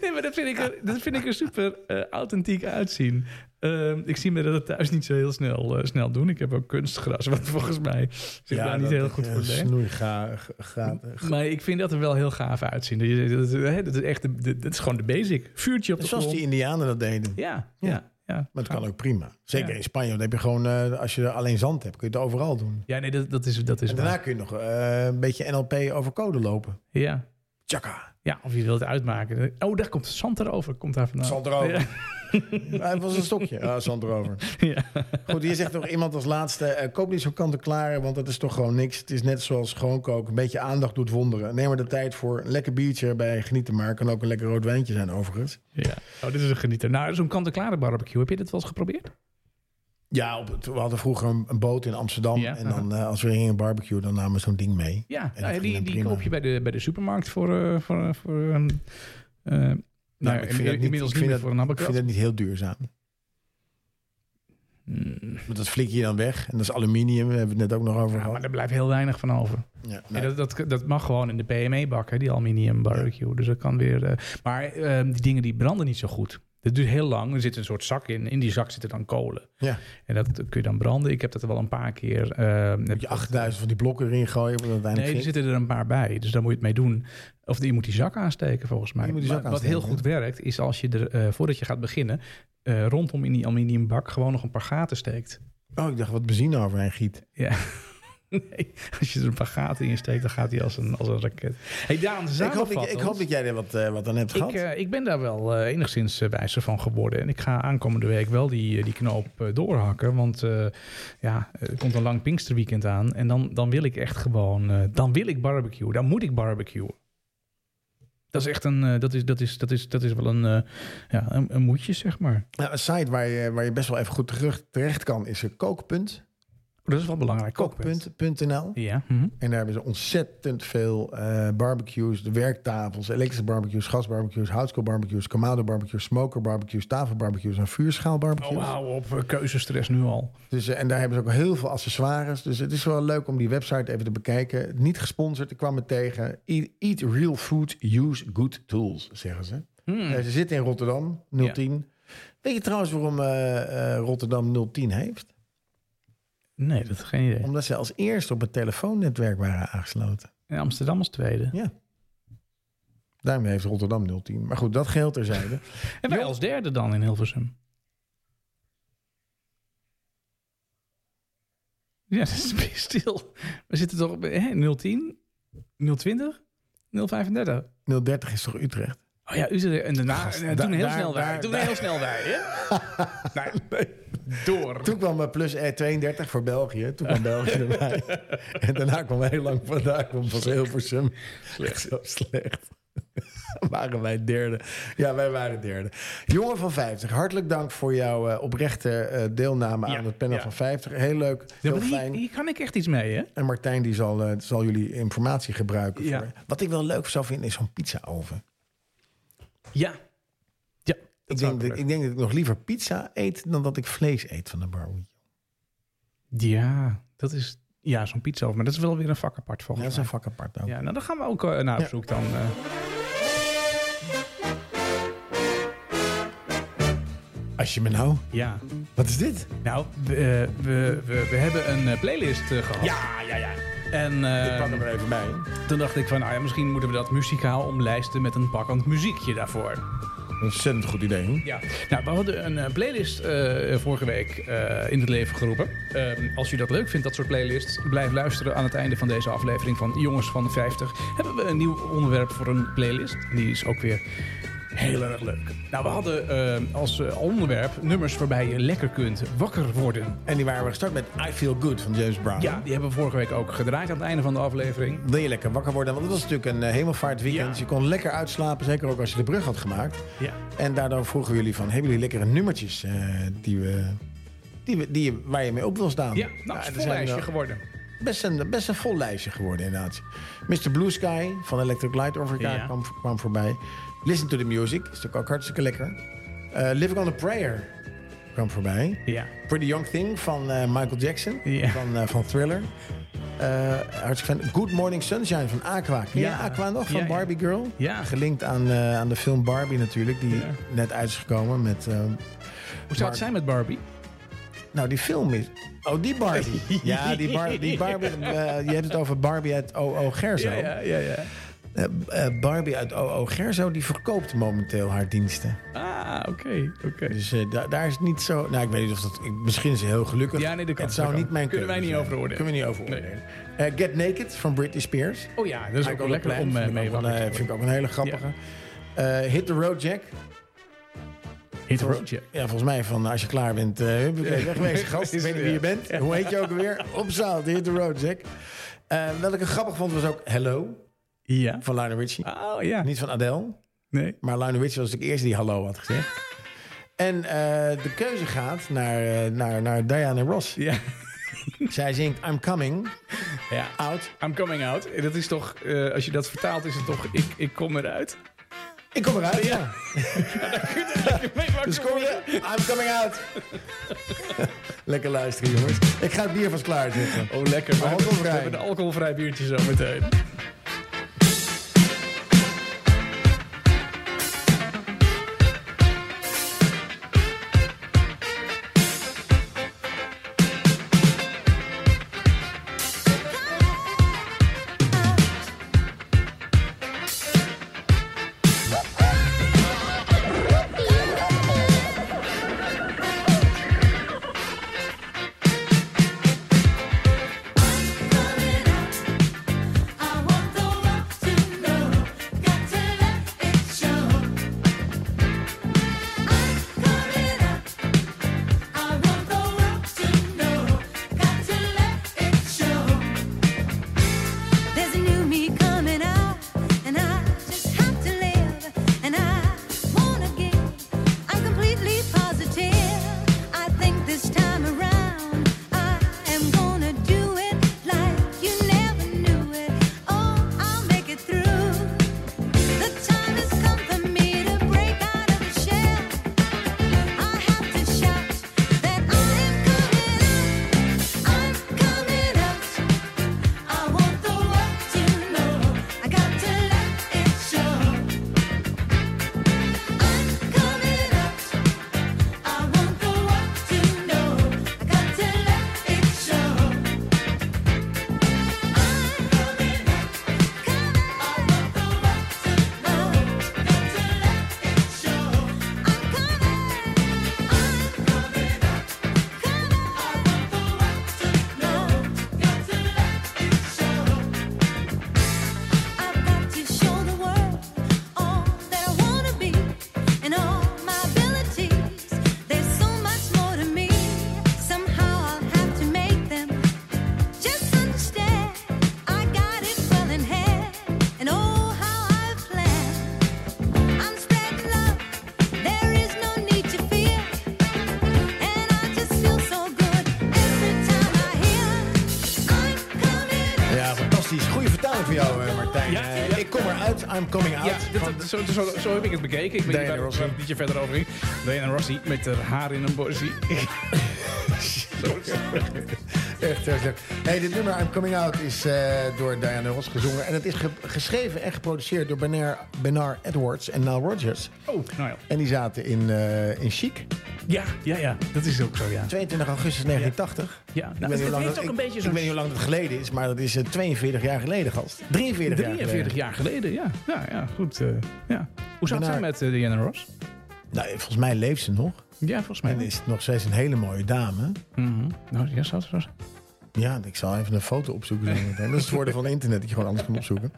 Nee, maar dat vind ik er, dat vind ik er super eh, authentiek uitzien. Ehm, ik zie me dat het thuis niet zo heel snel, eh, snel doen. Ik heb ook kunstgras, wat volgens mij zit daar nou niet dat- heel goed ja, voor. Nee. Snoei ga- ga- eh, gaat. Maar ik vind dat er wel heel gaaf uitzien. Dat je- Dat, dat, dat is echt de, de- dat is gewoon de basic. Vuurtje op de Zoals grond. die Indianen dat deden. Ja, Ja. ja, ja. Maar dat kan ook prima. Zeker Ja. in Spanje, want dan heb je gewoon, eh, als je alleen zand hebt, kun je het overal doen. Ja, nee, dat, dat is, dat is En daarna waar. kun je nog eh, een beetje NLP over code lopen. Ja. Tjaka, ja, of je wilt het uitmaken. Oh, daar komt zand erover. Komt daar vandaan. zand erover. *laughs* Hij was een stokje. Ah, zand erover. *laughs* Ja. Goed, hier zegt nog iemand als laatste, eh, koop niet zo kant-en-klaar, want dat is toch gewoon niks. Het is net zoals gewoon koken, een beetje aandacht doet wonderen. Neem er de tijd voor, een lekker biertje erbij, genieten maar. Kan ook een lekker rood wijntje zijn overigens. Ja. Oh, dit is een genieter. Nou, zo'n kant-en-klare barbecue. Heb je dit wel eens geprobeerd? Ja, op het- we hadden vroeger een, een boot in Amsterdam Ja. en dan eh, als we gingen barbecue, dan namen we zo'n ding mee. Ja, dat nou, ging die, dan die prima. koop je bij de, bij de supermarkt voor... eh, voor, eh, voor eh, eh, nou, Nou, en- ik vind dat niet, inmiddels ik vind meer dat- voor een Ik vind abbekrant. dat niet heel duurzaam. Mm, Want dat Nou. flik je dan weg en dat is aluminium, daar hebben we het net ook nog over Ja, nou, maar gehad. daar blijft heel weinig van over. Ja, nou, En nee. dat, dat, dat mag gewoon in de PME-bak, hè, die aluminium barbecue. Dus dat kan weer. eh, maar eh, die dingen die branden niet zo goed. Dat duurt heel lang. Er zit een soort zak in. In die zak zitten dan kolen. Ja. En dat kun je dan branden. Ik heb dat er wel een paar keer. eh, Moet je 8000 van die blokken erin gooien, want uiteindelijk Nee, er ging- zitten er een paar bij. Dus daar moet je het mee doen. Of je moet die zak aansteken, volgens mij. Je moet die Maar zak wat heel goed aansteken, werkt, is als je er eh, voordat je gaat beginnen. eh, rondom in die aluminiumbak gewoon nog een paar gaten steekt. *laughs* Oh, ik dacht wat benzine overheen giet. Ja. Nee, als je er een paar gaten in steekt, dan gaat hij als een, als een raket. Hey Daan, Ik hoop, dat- ik, hoop dat jij er wat, eh, wat aan hebt gehad. Ik, eh, ik ben daar wel eh, enigszins eh, wijzer van geworden. En ik ga aankomende week wel die, eh, die knoop eh, doorhakken. Want eh, ja, er komt een lang Pinksterweekend aan. En dan, dan wil ik echt gewoon... eh, dan wil ik barbecue. Dan moet ik barbecuen. Dat is echt een... eh, dat, is, dat, is, dat, is, dat is wel een, eh, ja, een, een moedje, zeg maar. Nou, een site waar je, waar je best wel even goed terug, terecht kan is eh, kookpunt. Oh, Dat is wel belangrijk. Kookpunt. Kookpunt.nl. Ja. mhm. En daar hebben ze ontzettend veel eh, barbecues, de werktafels, elektrische barbecues, gasbarbecues, houtskoolbarbecues, kamado barbecues, smoker barbecues, tafelbarbecues en vuurschaalbarbecues. Oh, hou op. eh, Keuzestress nu al. dus, eh, en daar hebben ze ook heel veel accessoires. Dus het is wel leuk om die website even te bekijken. Niet gesponsord, ik kwam het tegen. Eat, eat real food, use good tools, zeggen ze. Hmm. Eh, ze zitten in Rotterdam, 010. Weet je trouwens waarom eh, eh, Rotterdam 010 heeft? Nee, dat is geen idee. Omdat ze als eerste op het telefoonnetwerk waren aangesloten. En Amsterdam als tweede. Daarmee heeft Rotterdam 010. Maar goed, dat geheel *laughs* terzijde. En wij als derde dan in Hilversum. Ja, *laughs* dat is best stil. We zitten toch op hè, 010, 020, 035. 030 is toch Utrecht? Oh ja, Utrecht. En daarna Gast, eh, daar- toen heel daar- snel wij. daar- Toen daar- heel snel wij, *laughs* hè? Nou, door. Toen kwam eh, plus eh, 32 voor België. Toen kwam België *laughs* erbij. En daarna kwam heel lang vandaag kwam pas Hilversum. Slecht. Zo slecht. *laughs* waren wij derde. Ja, wij waren derde. Jongen van 50, hartelijk dank voor jouw eh, oprechte eh, deelname Ja, aan het panel ja. van 50. Heel leuk, Ja, heel maar hier, fijn. hier kan ik echt iets mee, hè? En Martijn die zal, eh, zal jullie informatie gebruiken. Ja. Voor. Wat ik wel leuk zou vinden is zo'n pizza oven. Ja. Ja. Ik denk, dat, ik denk dat ik nog liever pizza eet dan dat ik vlees eet van de barbecue. Ja, dat is... Ja, zo'n pizza over. Maar dat is wel weer een vak apart, Ja, volgens dat mij. is een vak apart ook. Ja, nou dan gaan we ook eh, naar op Ja. zoek dan. eh. Als je me nou... ja. Wat is dit? Nou, we, eh, we, we, we hebben een eh, playlist eh, gehad. Ja, ja, ja. En ik pak eh, hem er even bij. toen dacht ik van, nou ja, misschien moeten we dat muzikaal omlijsten met een pakkend muziekje daarvoor. Ontzettend goed idee. Ja, nou, we hadden een eh, playlist eh, vorige week eh, in het leven geroepen. Ehm, als u dat leuk vindt, dat soort playlists, blijf luisteren aan het einde van deze aflevering van Jongens van de 50. Hebben we een nieuw onderwerp voor een playlist. Die is ook weer heel erg leuk. Nou, we hadden eh, als eh, onderwerp nummers waarbij je lekker kunt wakker worden. En die waren we gestart met I Feel Good van James Brown. Ja, die hebben we vorige week ook gedraaid aan het einde van de aflevering. Wil je lekker wakker worden? Want het was natuurlijk een eh, hemelvaartweekend. Ja. Dus je kon lekker uitslapen, zeker ook als je de brug had gemaakt. Ja. En daardoor vroegen we jullie van, hebben jullie lekkere nummertjes eh, die we, die we, die, je- waar je mee op wil staan? Ja, nou, het is er een vol zijn lijstje wel- geworden. best, een, best een vol lijstje geworden inderdaad. Mr. Blue Sky van Electric Light Orchestra Ja. kwam, kwam voorbij. Listen to the Music, is natuurlijk ook hartstikke lekker. Eh, Living on a Prayer kwam voorbij. Ja. Pretty Young Thing van eh, Michael Jackson, Ja. van, eh, van Thriller. Eh, hartstikke fan. Good Morning Sunshine van Aqua. Ken je Ja. Aqua nog? Van Ja, ja. Barbie Girl? Ja. Gelinkt aan, eh, aan de film Barbie natuurlijk, die Ja. net uit is gekomen met... eh, Hoe zou het zijn met Barbie? nou, die film is... Oh, die Barbie. ja, die, Bar- *laughs* die Barbie... eh, je hebt het over Barbie uit O.O. Gerzo. ja, ja. Eh, eh, Barbie uit O.O. Gerzo, die verkoopt momenteel haar diensten. Ah, oké, oké. Dus eh, da- daar is het niet zo... Nou, ik weet niet of dat... ik- misschien is ze heel gelukkig. Ja, nee, dat kan, Het dat zou kan. niet mijn Kunnen wij keuze niet zijn. over oordelen. Kunnen we niet over oordelen. Eh, Get Naked van Britney Spears. Oh ja, dat is ook wel Iconic lekker Plan, om eh, vind ik mee ook wel, wakker eh, te Vind ik worden. ook een hele grappige. Eh, Hit the Road Jack. Hit the Volgens- road, Jack. Ja, volgens mij van als je klaar bent, eh huppakee, wegwezen gast. Ik weet niet wie je bent. Hoe heet je ook alweer? Op zaal, de Hit the Road Jack. Eh wat ik een grappig vond was ook Hello Ja. van Lionel Richie. Oh ja. Niet van Adele, Nee. maar Lionel Richie was de eerste die Hallo had gezegd. En eh, de keuze gaat naar, eh, naar, naar Diana Ross. Ja. Zij zingt I'm Coming ja. Out. I'm coming out. Dat is toch, eh, als je dat vertaalt, is het toch ik, ik kom eruit. Ik kom eruit. Ja. Dus Dus kom je? I'm coming out. *laughs* Lekker luisteren, jongens. Ik ga het bier vast klaarzetten. Oh, lekker. We hebben, we Alcoholvrij. hebben een alcoholvrij biertje zo meteen. I want the world to know, got to let it show. I'm coming up. I want the world to know, got to let it show. There's a new me coming out, and I just have to live, and I wanna give. I'm completely positive. I think this time around I am gonna do it like you never knew it. Oh, I'll make it through. The time has come for me to break out of the shell. I have to shout that I am coming out. I'm coming out. I want the world to know. I got to let it show. I'm coming out. I want the world to know. I got to let it show. I'm coming out. I want the world to know. Got to let it show. I'm coming. I'm coming out. I want the world to know. Got to let it show. I've got to show the world all that I wanna be and all my abilities. There's so much more to me. Somehow I'll have to make them just understand. I got it well in hand, and oh how I plan. I'm spreading love. There is no need to fear, and I just feel so good every time I hear. I'm coming. Ja, fantastisch. Goede vertaling voor jou, eh, Martijn. Ja, Eh, ja. ik kom eruit. I'm coming out. Ja, dat- dat- zo, zo, zo heb ik het bekeken. Ik weet Diana niet waar- Rossi. waar het liedje verder over ging. Diana Rossi met haar haar in een bossie. *laughs* Echt, echt, echt. Hey, dit nummer I'm Coming Out is eh, door Diana Ross gezongen. En het is ge- geschreven en geproduceerd door Bernard, Bernard Edwards en Nile Rodgers. Oh, nou ja. En die zaten in, eh, in Chic. Ja, ja, ja. Dat is ook zo, ja. 22 augustus 1980. Ja, nou, Ik weet het niet hoe lang heeft dat- ook een ik- beetje ik zo'n weet niet hoe lang dat geleden is, maar dat is eh, 42 jaar geleden, gast. 43, jaar 43 geleden. jaar geleden, ja. Ja, ja, goed. eh, ja. Hoe zou het Daarna- zijn met eh, Diana Ross? Nou, eh, volgens mij leeft ze nog. Ja, volgens mij. En wel. is het nog steeds een hele mooie dame. Mhm. Nou, ja, zou het zo zijn. Ja, ik zal even een foto opzoeken. zo meteen. Dat is het voordeel van internet, dat je gewoon anders kan opzoeken.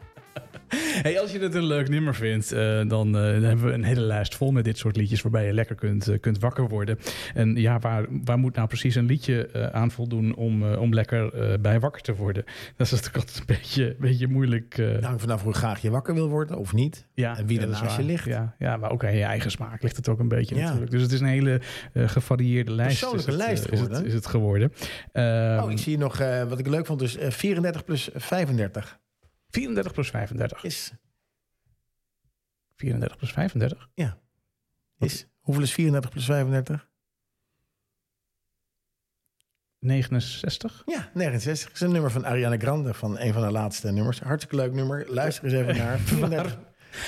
Hey, als je het een leuk nummer vindt, eh, dan, eh, dan hebben we een hele lijst vol met dit soort liedjes waarbij je lekker kunt, eh, kunt wakker worden. En ja, waar, waar moet nou precies een liedje eh, aan voldoen om, eh, om lekker eh, bij wakker te worden? *laughs* Dat is natuurlijk altijd een beetje, een beetje moeilijk. eh, Het hangt vanaf hoe graag je wakker wil worden of niet. ja, Nou, en wie er dat is naast je waar. ligt. Ja, ja, maar ook aan je eigen smaak ligt het ook een beetje Ja. natuurlijk. Dus het is een hele eh, gevarieerde lijst. Persoonlijke is het, eh, lijst is het, geworden. is het geworden. Ehm, Oh, ik zie nog, eh, wat ik leuk vond, dus eh, 34 plus 35 34 plus 35. is, 34 plus 35. is. Hoeveel is 34 plus 35? 69. Ja, 69. is een nummer van Ariana Grande, van een van haar laatste nummers. Hartstikke leuk nummer. Luister eens *laughs* even naar. 34.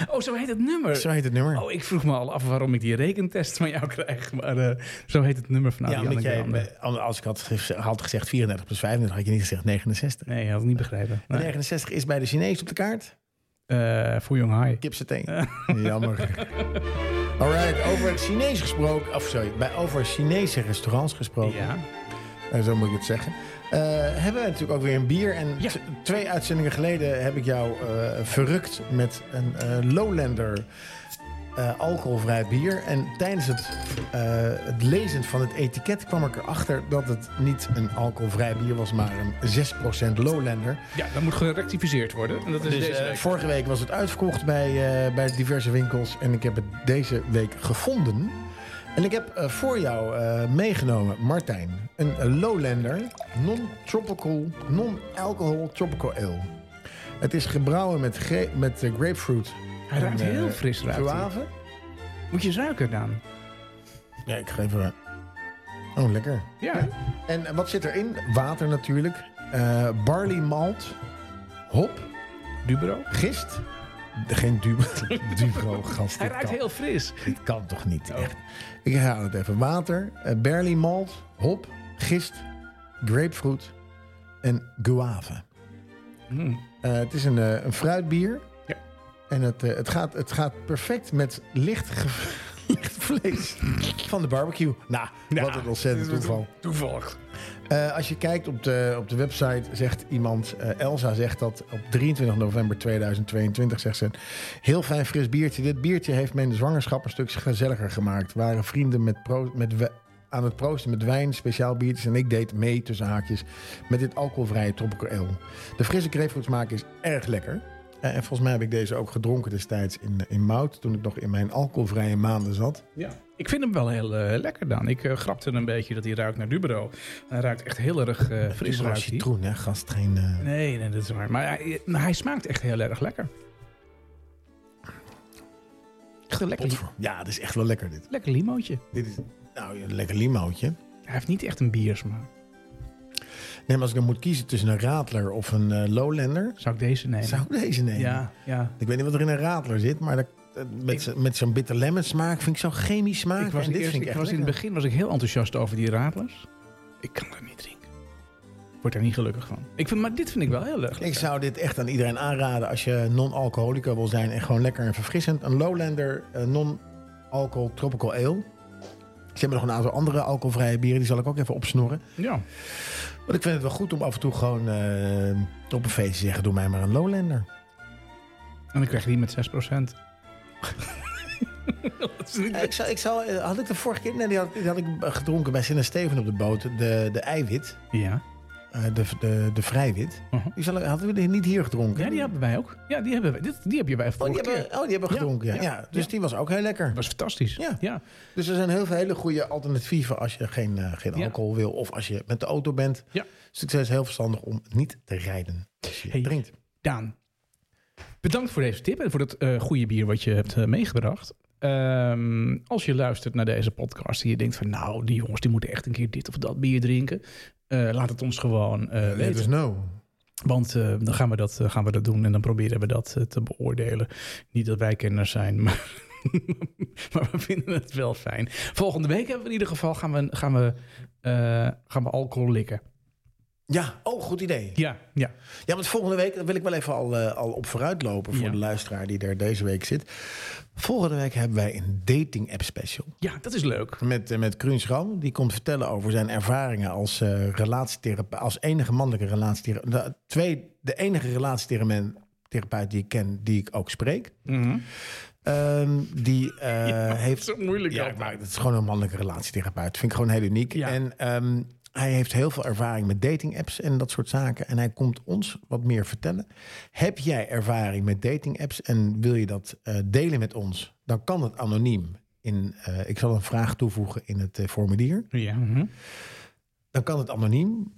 Oh, zo heet het nummer. Zo heet het nummer. *laughs* Oh, ik vroeg me al af waarom ik die rekentest van jou krijg. Maar eh, zo heet het nummer van ja, Ariana omdat jij, Grande. eh, als ik had, gez- had gezegd 34 plus 35, had je niet gezegd 69. Nee, je had het niet begrepen. En Nee. 69 is bij de Chinees op de kaart. Eh, Fu Young High. *laughs* Kipsaté. Jammer. Alright, over Chinees gesproken. Of sorry, bij over Chinese restaurants gesproken. Ja. Eh, zo moet ik het zeggen. Eh, hebben we natuurlijk ook weer een bier. En Ja. t- twee uitzendingen geleden heb ik jou eh, verrukt met een eh, Lowlander eh, alcoholvrij bier. En tijdens het, eh, het lezen van het etiket kwam ik erachter dat het niet een alcoholvrij bier was, maar een 6% Lowlander. ja, dat moet gerectificeerd worden. En dat is Dus, deze eh, week. vorige week was het uitverkocht bij, eh, bij diverse winkels. En ik heb het deze week gevonden. En ik heb eh, voor jou eh, meegenomen, Martijn, een Lowlander non-tropical, non-alcohol tropical ale. Het is gebrouwen met, gre- met eh, grapefruit. Hij ruikt en, eh, heel fris. Ruikt hij. Guave. moet je eens ruiken dan? Ja, ik geef er. Oh, lekker. Ja. En eh, wat zit erin? Water natuurlijk. eh, barley malt. Hop. Dubro. Gist. Geen dubro. *laughs* dubro gast. Hij dit ruikt kan. heel fris. Dit kan toch niet, Oh. echt. Ik herhaal het even. Water, eh, barley malt, hop, gist, grapefruit en guave. Mm. Eh, het is een, eh, een fruitbier. Ja. En het, eh, het, gaat, het gaat perfect met licht, ge- *laughs* licht vlees van de barbecue. Nou, Ja, wat een ontzettend dit is toeval. Toevallig. Eh, als je kijkt op de, op de website, zegt iemand, eh, Elsa zegt dat op 23 november 2022, zegt ze, heel fijn fris biertje. Dit biertje heeft mijn zwangerschap een stuk gezelliger gemaakt. Waren vrienden met pro- met we- aan het proosten met wijn, speciaal biertjes en ik deed mee tussen haakjes met dit alcoholvrije tropical ale. De frisse grapefruitsmaak is erg lekker. Eh, en volgens mij heb ik deze ook gedronken destijds in, in Mout, toen ik nog in mijn alcoholvrije maanden zat. Ja. Ik vind hem wel heel eh, lekker dan. Ik eh, grapte een beetje dat hij ruikt naar Dubro. Hij ruikt echt heel erg eh, fris. Overal Ruikt hij. citroen, hè, gast. Geen, eh, Nee, nee, dat is waar. Maar hij, maar hij smaakt echt heel erg lekker. Echt een lekker, potver- Ja, het is echt wel lekker dit. lekker limootje. Dit is nou een lekker limootje. Hij heeft niet echt een biersmaak. Nee, maar als ik dan moet kiezen tussen een Radler of een eh, Lowlander, Zou ik deze nemen? zou ik deze nemen. Ah, Ja, ja. Ik weet niet wat er in een Radler zit, maar dat, eh, met, zo- met zo'n bitter lemon smaak vind ik zo'n chemisch smaak. Ik was, en dit eerst- vind ik ik echt was in het lekker. begin was ik heel enthousiast over die radlers. Ik kan dat niet drinken. Ik Word er niet gelukkig van. Ik vind, maar dit vind ik wel heel erg. Ik lekker. zou dit echt aan iedereen aanraden als je non-alcoholica wil zijn en gewoon lekker en verfrissend. Een Lowlander eh, non-alcohol tropical ale. Ze hebben nog een aantal andere alcoholvrije bieren, die zal ik ook even opsnorren. Ja. Want ik vind het wel goed om af en toe gewoon eh, op een feestje te zeggen, doe mij maar een Lowlander. En dan krijg je die met 6%. *laughs* Dat is niet- Ja, Ik zou, ik zou, eh, had ik de vorige keer, nee, die had, die had ik eh, gedronken bij Sinne Steven op de boot, de, de eiwit, ja. eh, de, de, de vrijwit. Uh-huh. Die zal- hadden we die niet hier gedronken. ja, die hebben wij ook. Ja, die hebben wij. Dit, die heb je bij oh, vorige die keer. hebben, oh, die hebben we Ja, gedronken, ja. ja, ja. dus ja. die was ook heel lekker. Dat was fantastisch. Ja. ja. Dus er zijn heel veel hele goede alternatieven als je geen, eh, geen Ja. alcohol wil of als je met de auto bent. Ja. Dus ik zei, het is heel verstandig om niet te rijden als je Hey. drinkt. Daan, bedankt voor deze tip en voor dat eh, goede bier wat je hebt eh, meegebracht. Ehm, als je luistert naar deze podcast en je denkt van... nou, die jongens die moeten echt een keer dit of dat bier drinken... eh, laat het ons gewoon eh, Let weten. us know. Want eh, dan gaan we, dat, eh, gaan we dat doen en dan proberen we dat eh, te beoordelen. Niet dat wij kenners zijn, *laughs* maar... maar we vinden het wel fijn. Volgende week hebben we in ieder geval gaan we, gaan we, eh, gaan we alcohol likken. Ja, oh, goed idee. Ja, ja. Ja, want volgende week, daar wil ik wel even al, eh, al op vooruit lopen voor Ja. de luisteraar die er deze week zit. Volgende week hebben wij een dating app special. ja dat is leuk. Met, eh, met Kruun Schram. Die komt vertellen over zijn ervaringen als eh relatietherapeut. Als enige mannelijke relatietherapeut. De, twee, de enige relatietherapeut die ik ken, die ik ook spreek. Ehm, die eh, *laughs* heeft. Mhm. Zo moeilijk Ja, altijd. maar het is gewoon een mannelijke relatietherapeut. Vind ik gewoon heel uniek. Ja. En ehm, hij heeft heel veel ervaring met dating apps en dat soort zaken. En hij komt ons wat meer vertellen. Heb jij ervaring met dating apps en wil je dat eh, delen met ons? Dan kan het anoniem. In, eh, ik zal een vraag toevoegen in het eh, formulier. Ja, mhm. Dan kan het anoniem.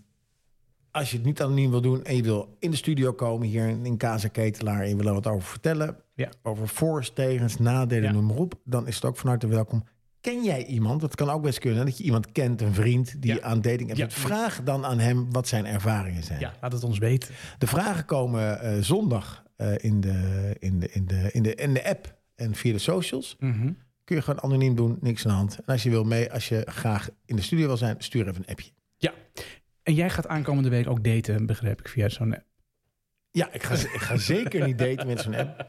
Als je het niet anoniem wil doen en je wil in de studio komen hier in Kaza Ketelaar en je wil er wat over vertellen, ja. over voor's, tegens, nadelen, Ja. noem maar op, dan is het ook van harte welkom. Ken jij iemand? Dat kan ook best kunnen dat je iemand kent, een vriend die Ja. aan dating hebt. Dus Ja. Vraag dan aan hem wat zijn ervaringen zijn. ja, laat het ons weten. De vragen komen eh, zondag eh, in, de, in, de, in, de, in, de, in de app en via de socials. Mhm. Kun je gewoon anoniem doen, niks aan de hand. En als je wil mee, als je graag in de studio wil zijn, stuur even een appje. Ja. En jij gaat aankomende week ook daten, begrijp ik, via zo'n eh, app. Ja, *laughs* ik ga, ik ga zeker niet daten met zo'n app.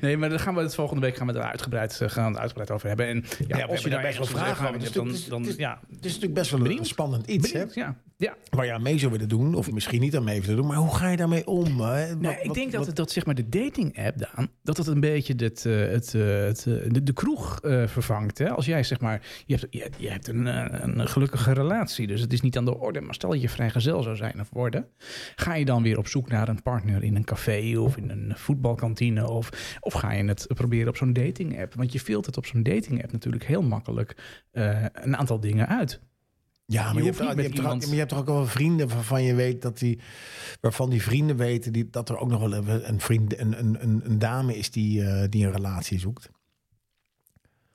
Nee, maar daar gaan we het volgende week gaan we het er uitgebreid, eh, gaan we het uitgebreid over hebben. En ja, je als je daar daar best best wel wel vragen over vragen over hebt, hebt, dan, het is- dan het is- ja, Het is natuurlijk best wel een spannend iets, hè? benieuwd, ja. ja. waar je aan mee zou willen doen, of misschien niet aan mee willen doen, maar hoe ga je daarmee om? hè? Wat- Nou, ik wat- denk dat, wat- het, dat zeg maar de dating-app, Daan, dat het een beetje dit, eh, het, eh, het, eh, de, de kroeg eh, vervangt. Hè? Als jij zeg maar, je hebt, je, je hebt een, eh, een gelukkige relatie, dus het is niet aan de orde. Maar stel dat je vrijgezel zou zijn of worden, ga je dan weer op zoek naar een partner in een café of in een voetbalkantine? Of, of ga je het proberen op zo'n dating-app? Want je filtert op zo'n dating-app natuurlijk heel makkelijk eh, een aantal dingen uit. ja, maar je je, hoeft niet hebt, al- je, met hebt toch ook, iemand- maar je hebt toch ook wel vrienden waarvan je weet dat die, waarvan die vrienden weten die, dat er ook nog wel een, een vriend, een, een, een, een dame is die, eh, die een relatie zoekt.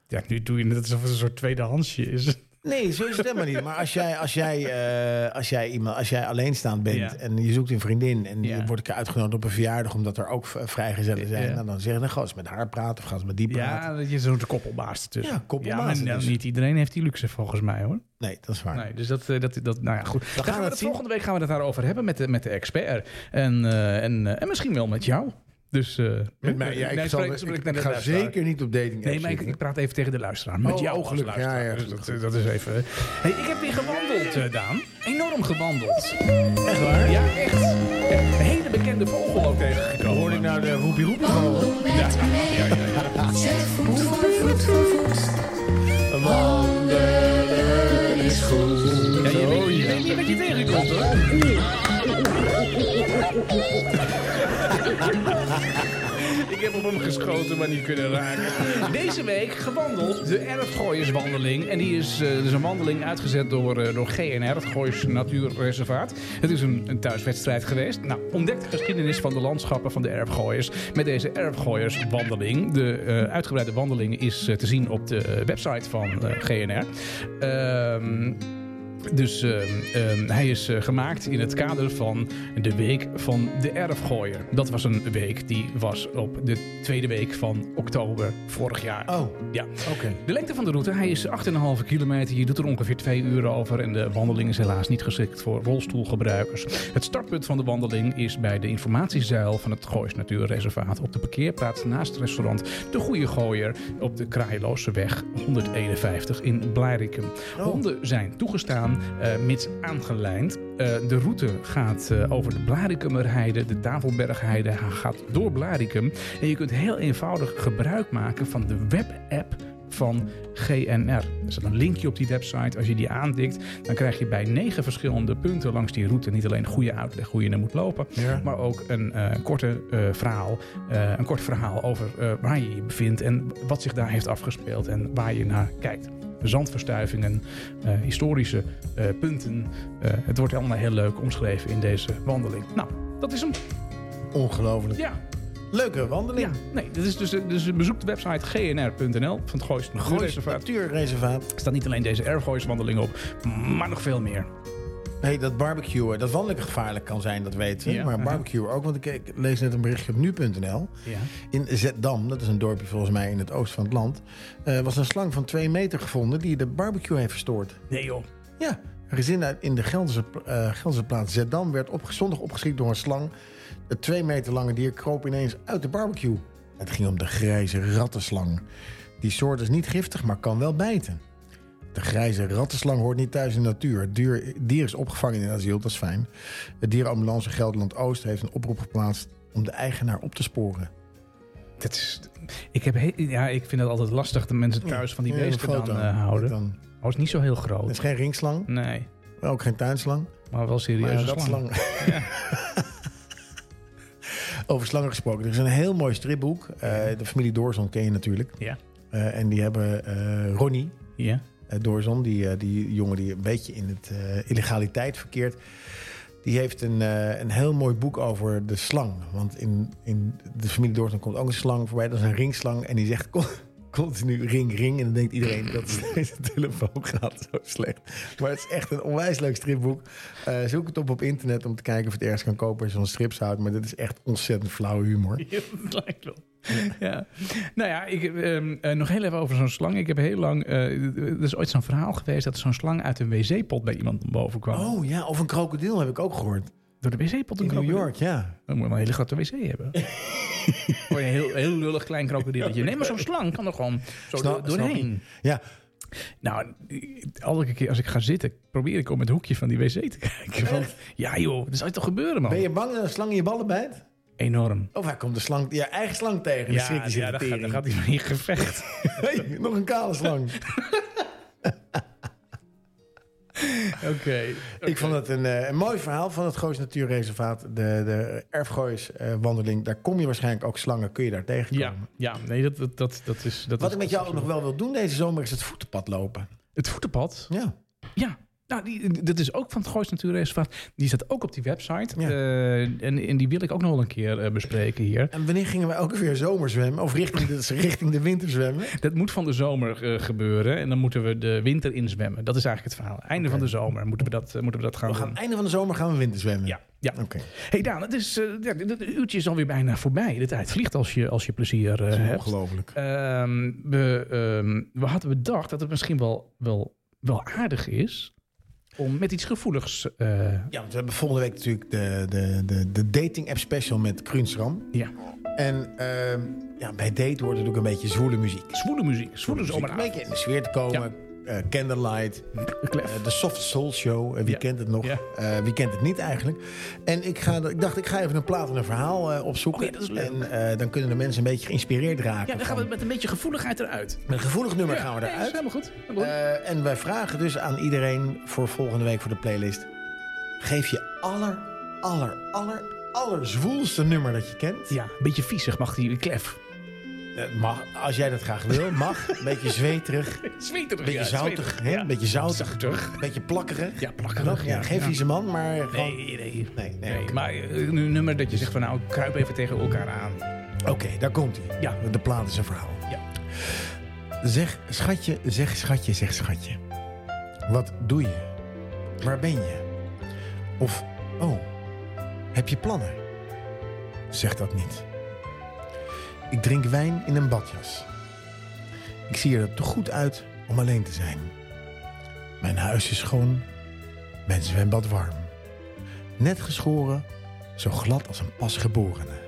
Ja, nu doe je het alsof het een soort tweedehandsje is. Nee, zo is het helemaal niet. Maar als jij, als jij, eh, als jij, iemand, als jij alleenstaand bent Ja. en je zoekt een vriendin en Ja. je wordt een keer uitgenodigd op een verjaardag omdat er ook v- vrijgezellen zijn, Ja. nou, dan zeggen ze, ga eens met haar praten of ga eens met die *laughs* praten. Ja, dat je zo'n koppelbaas tussen. Ja, koppelbaas maar nou, dus. niet iedereen heeft die luxe volgens mij hoor. Nee, dat is waar. Nee, dus dat, eh, dat, dat nou ja, goed. Dan gaan, gaan we het het zien. volgende week gaan we het daarover hebben met de, met de expert. En, eh, en, eh, en misschien wel met jou. Dus, eh, Met mij, ja, nee, ik, spreek- zal, spreek- ik, spreek naar de ga luisteraar. zeker niet op dating Nee, maar ik, ik praat even tegen de luisteraar. Met Oh, jou oh, als gelukkig. luisteraar. Ja, ja, Dus dat, dat is even... Hey, ik heb weer gewandeld, eh, Daan. Enorm gewandeld. Echt waar? Ja, echt. Een hele bekende vogel ook tegengekomen. Hoor ik nou de roepie roepie Ja, je, weet, je weet niet wat je tegenkomt, hoor. Ik heb op hem geschoten, maar niet kunnen raken. Deze week gewandeld de Erfgooierswandeling. En die is, eh, dus een wandeling uitgezet door, eh, door GNR, het Goois Natuurreservaat. Het is een, een thuiswedstrijd geweest. Nou, ontdek de geschiedenis van de landschappen van de Erfgooiers met deze Erfgooierswandeling. De eh, uitgebreide wandeling is eh, te zien op de website van eh, GNR. Ehm dus ehm, ehm, hij is eh, gemaakt in het kader van de Week van de Erfgooier. Dat was een week die was op de tweede week van oktober vorig jaar. Oh, oké. Ja. De lengte van de route, hij is 8,5 kilometer. Je doet er ongeveer twee uur over en de wandeling is helaas niet geschikt voor rolstoelgebruikers. Het startpunt van de wandeling is bij de informatiezuil van het Goois Natuurreservaat op de parkeerplaats naast het restaurant De Goeie Gooier op de Kraailooseweg 151 in Blarikum. Honden zijn toegestaan, eh, mits aangelijnd. Eh, de route gaat eh, over de Blarikumerheide, de Tafelbergheide, hij gaat door Blarikum. En je kunt heel eenvoudig gebruik maken van de webapp van GNR. Er staat een linkje op die website. Als je die aantikt, dan krijg je bij negen verschillende punten langs die route niet alleen goede uitleg hoe je er moet lopen, Ja. maar ook een eh, korte eh, verhaal, eh, een kort verhaal over eh, waar je je bevindt en wat zich daar heeft afgespeeld en waar je naar kijkt. Zandverstuivingen, eh, historische eh, punten. Eh, het wordt allemaal heel leuk omschreven in deze wandeling. Nou, dat is hem. Ongelooflijk. Ja. Leuke wandeling. ja. Nee, dit is dus, dus bezoek de website gnr.nl van het Goois Gooi Natuurreservaat. natuurreservaat. Er staat niet alleen deze erfgooiswandeling op, maar nog veel meer. hey, dat barbecuen, dat wandelen gevaarlijk kan zijn, dat weten we. Ja. maar Mhm. barbecuen ook, want ik, ik lees net een berichtje op nu.nl. Ja. In Zeddam, dat is een dorpje volgens mij in het oosten van het land, eh, was een slang van twee meter gevonden die de barbecue heeft verstoord. Nee joh. Ja, een gezin uit- in de Gelderse, eh, Gelderse plaats Zeddam werd op, zondag opgeschikt door een slang. Het twee meter lange dier kroop ineens uit de barbecue. Het ging om de grijze rattenslang. Die soort is niet giftig, maar kan wel bijten. De grijze rattenslang hoort niet thuis in de natuur. Het dier, dier is opgevangen in asiel, dat is fijn. De dierenambulance Gelderland-Oost heeft een oproep geplaatst om de eigenaar op te sporen. Dat is, ik, heb he- ja, ik vind het altijd lastig de mensen thuis van die Ja, beesten een dan foto. eh, houden. Dan- Oh, is niet zo heel Het groot. is geen ringslang, Nee, ook geen tuinslang. maar wel Maar serieus. ja, dat slang. *laughs* Over slangen gesproken. Er is een heel mooi stripboek. Eh, de familie Doorzon ken je natuurlijk. Ja. Eh, en die hebben eh, Ronnie Ja. *laughs* eh, Doorzon, die, eh, die jongen die een beetje in het eh, illegaliteit verkeert. Die heeft een, eh, een heel mooi boek over de slang. Want in, in de familie Doorzon komt ook een slang voorbij. Dat is een ringslang. En die zegt *laughs* con- continu ring, ring. En dan denkt iedereen dat is- *laughs* deze telefoon gaat zo slecht. Maar het is echt een onwijs leuk stripboek. Eh, zoek het op op internet om te kijken of je het ergens kan kopen als je van strips houdt. Maar dit is echt ontzettend flauwe humor. Ja, dat lijkt wel. Ja. Nou ja, ik, heb, ehm, eh, nog heel even over zo'n slang. Ik heb heel lang. eh, er is ooit zo'n verhaal geweest dat zo'n slang uit een wc-pot bij iemand boven kwam. Oh ja, of een krokodil heb ik ook gehoord. Door de wc-pot In New krokodil. York, ja. Dan moet je wel een hele grote wc *laughs* hebben. Voor een heel, heel lullig klein krokodilletje. Nee, maar zo'n slang kan er gewoon zo Snap- door- doorheen. Ja, Nou, elke keer als ik ga zitten, probeer ik om het hoekje van die wc te kijken. Van, ja joh, dat zou toch gebeuren man? ben je bang dat een slang in je ballen bijt? Enorm. Of hij komt de slang, je eigen slang tegen. Ja, schrik ja, dan gaat, dan gaat hij van in gevecht. *laughs* nog een kale slang. *laughs* Oké. Ik vond het een, eh, een mooi verhaal van het Goos Natuurreservaat. De, de erfgooiswandeling. daar kom je waarschijnlijk ook slangen, kun je daar tegenkomen. Ja, ja, nee, dat, dat, dat, dat is... Dat Wat is- ik met jou ook nog wel wil doen deze zomer is het voetenpad lopen. Het voetenpad, Ja. ja. Nou, die, dat is ook van het Goois Natuurreservaat. Die staat ook op die website. Ja. Eh, en, en die wil ik ook nog wel een keer eh, bespreken hier. En wanneer gingen we elke weer zomerzwemmen? Of richting de, *laughs* richting de winter zwemmen? Dat moet van de zomer eh, gebeuren. En dan moeten we de winter inzwemmen. Dat is eigenlijk het verhaal. Einde van de zomer moeten we dat, eh, moeten we dat gaan, We gaan doen. einde van de zomer gaan we winterzwemmen. Ja, ja. Oké. hey Daan, het, is, eh, ja, dit- dit uurtje is alweer bijna voorbij. De tijd vliegt als je, als je plezier eh, hebt. Ongelooflijk. Ehm, we, ehm, we hadden bedacht dat het misschien wel, wel, wel aardig is om met iets gevoeligs. eh, Ja, want we hebben volgende week natuurlijk de, de, de, de dating app special met Krunsram. ja, En ehm, ja, bij date hoort natuurlijk een beetje zwoele muziek. Dus zwoele muziek, zwoele Een zomeravond. beetje in de sfeer te komen. Eh, Candlelight, Klef. eh, de Soft Soul Show. en wie Ja. kent het nog? Ja. Eh, wie kent het niet eigenlijk? En ik, ga, ik dacht, ik ga even een plaat en een verhaal eh, opzoeken. Oh ja, dat is leuk. En eh, dan kunnen de mensen een beetje geïnspireerd raken. Ja, dan gaan we van- met een beetje gevoeligheid eruit. Met een gevoelig nummer gaan we Ja, nee, is eruit. Helemaal goed. Helemaal goed. Eh, en wij vragen dus aan iedereen voor volgende week voor de playlist. Geef je aller, aller, aller, aller zwoelste nummer dat je kent. ja, een beetje viezig mag die klef. Eh, mag, als jij dat graag wil, mag. Een beetje zweterig. *laughs* Zweterig. Beetje ja, zoutig, zweterig. hè? Ja. Beetje zoutig. Zoutig. Beetje plakkerig. Ja, plakkerig, Dat- ja. Geen Ja. vieze man, maar gewoon... Nee, nee. Nee, nee, Nee, oké. maar eh, een nummer dat je zegt van nou, kruip even tegen elkaar aan. Oké, daar komt hij. Ja. De plaat is een verhaal. Ja. Zeg, schatje, zeg, schatje, zeg, schatje. Wat doe je? Waar ben je? Of, oh, heb je plannen? Zeg dat niet. Ik drink wijn in een badjas. Ik zie er te goed uit om alleen te zijn. Mijn huis is schoon, mijn zwembad warm. Net geschoren, zo glad als een pasgeborene.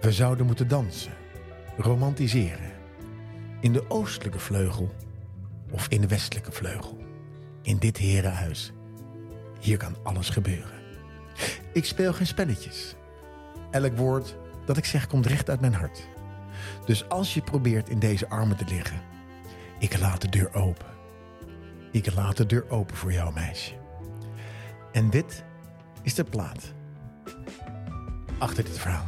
We zouden moeten dansen, romantiseren. In de oostelijke vleugel of in de westelijke vleugel. In dit herenhuis. Hier kan alles gebeuren. Ik speel geen spelletjes. Elk woord dat ik zeg komt recht uit mijn hart. Dus als je probeert in deze armen te liggen, ik laat de deur open. Ik laat de deur open voor jou, meisje. En dit is de plaat achter dit verhaal.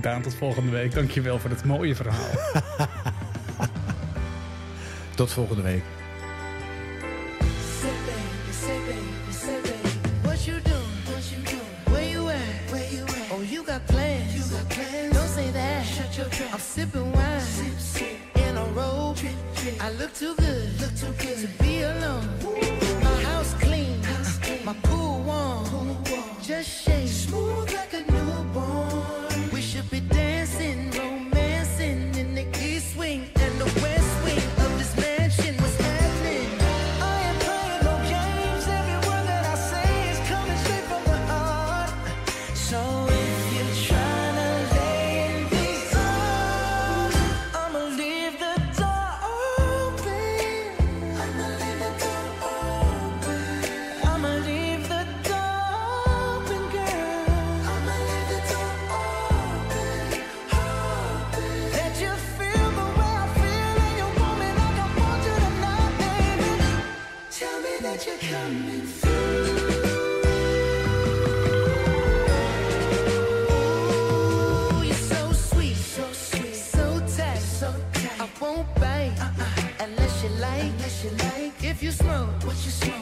Daan, tot volgende week. Dankjewel voor het mooie verhaal. Tot volgende week. Say baby, say baby, say baby, what you doing? What you doing? Where you at? Where you at? Oh, you got plans? You got plans? Don't say that. Shut your trap. I'm sipping wine. Sip, sip. In a robe. I look too good. Look too good to be alone. My house clean. Ooh, you're so sweet, so sweet, so tight, so Uh-uh. tight. I won't bite unless you like, unless you like. If you smoke, what you smoke,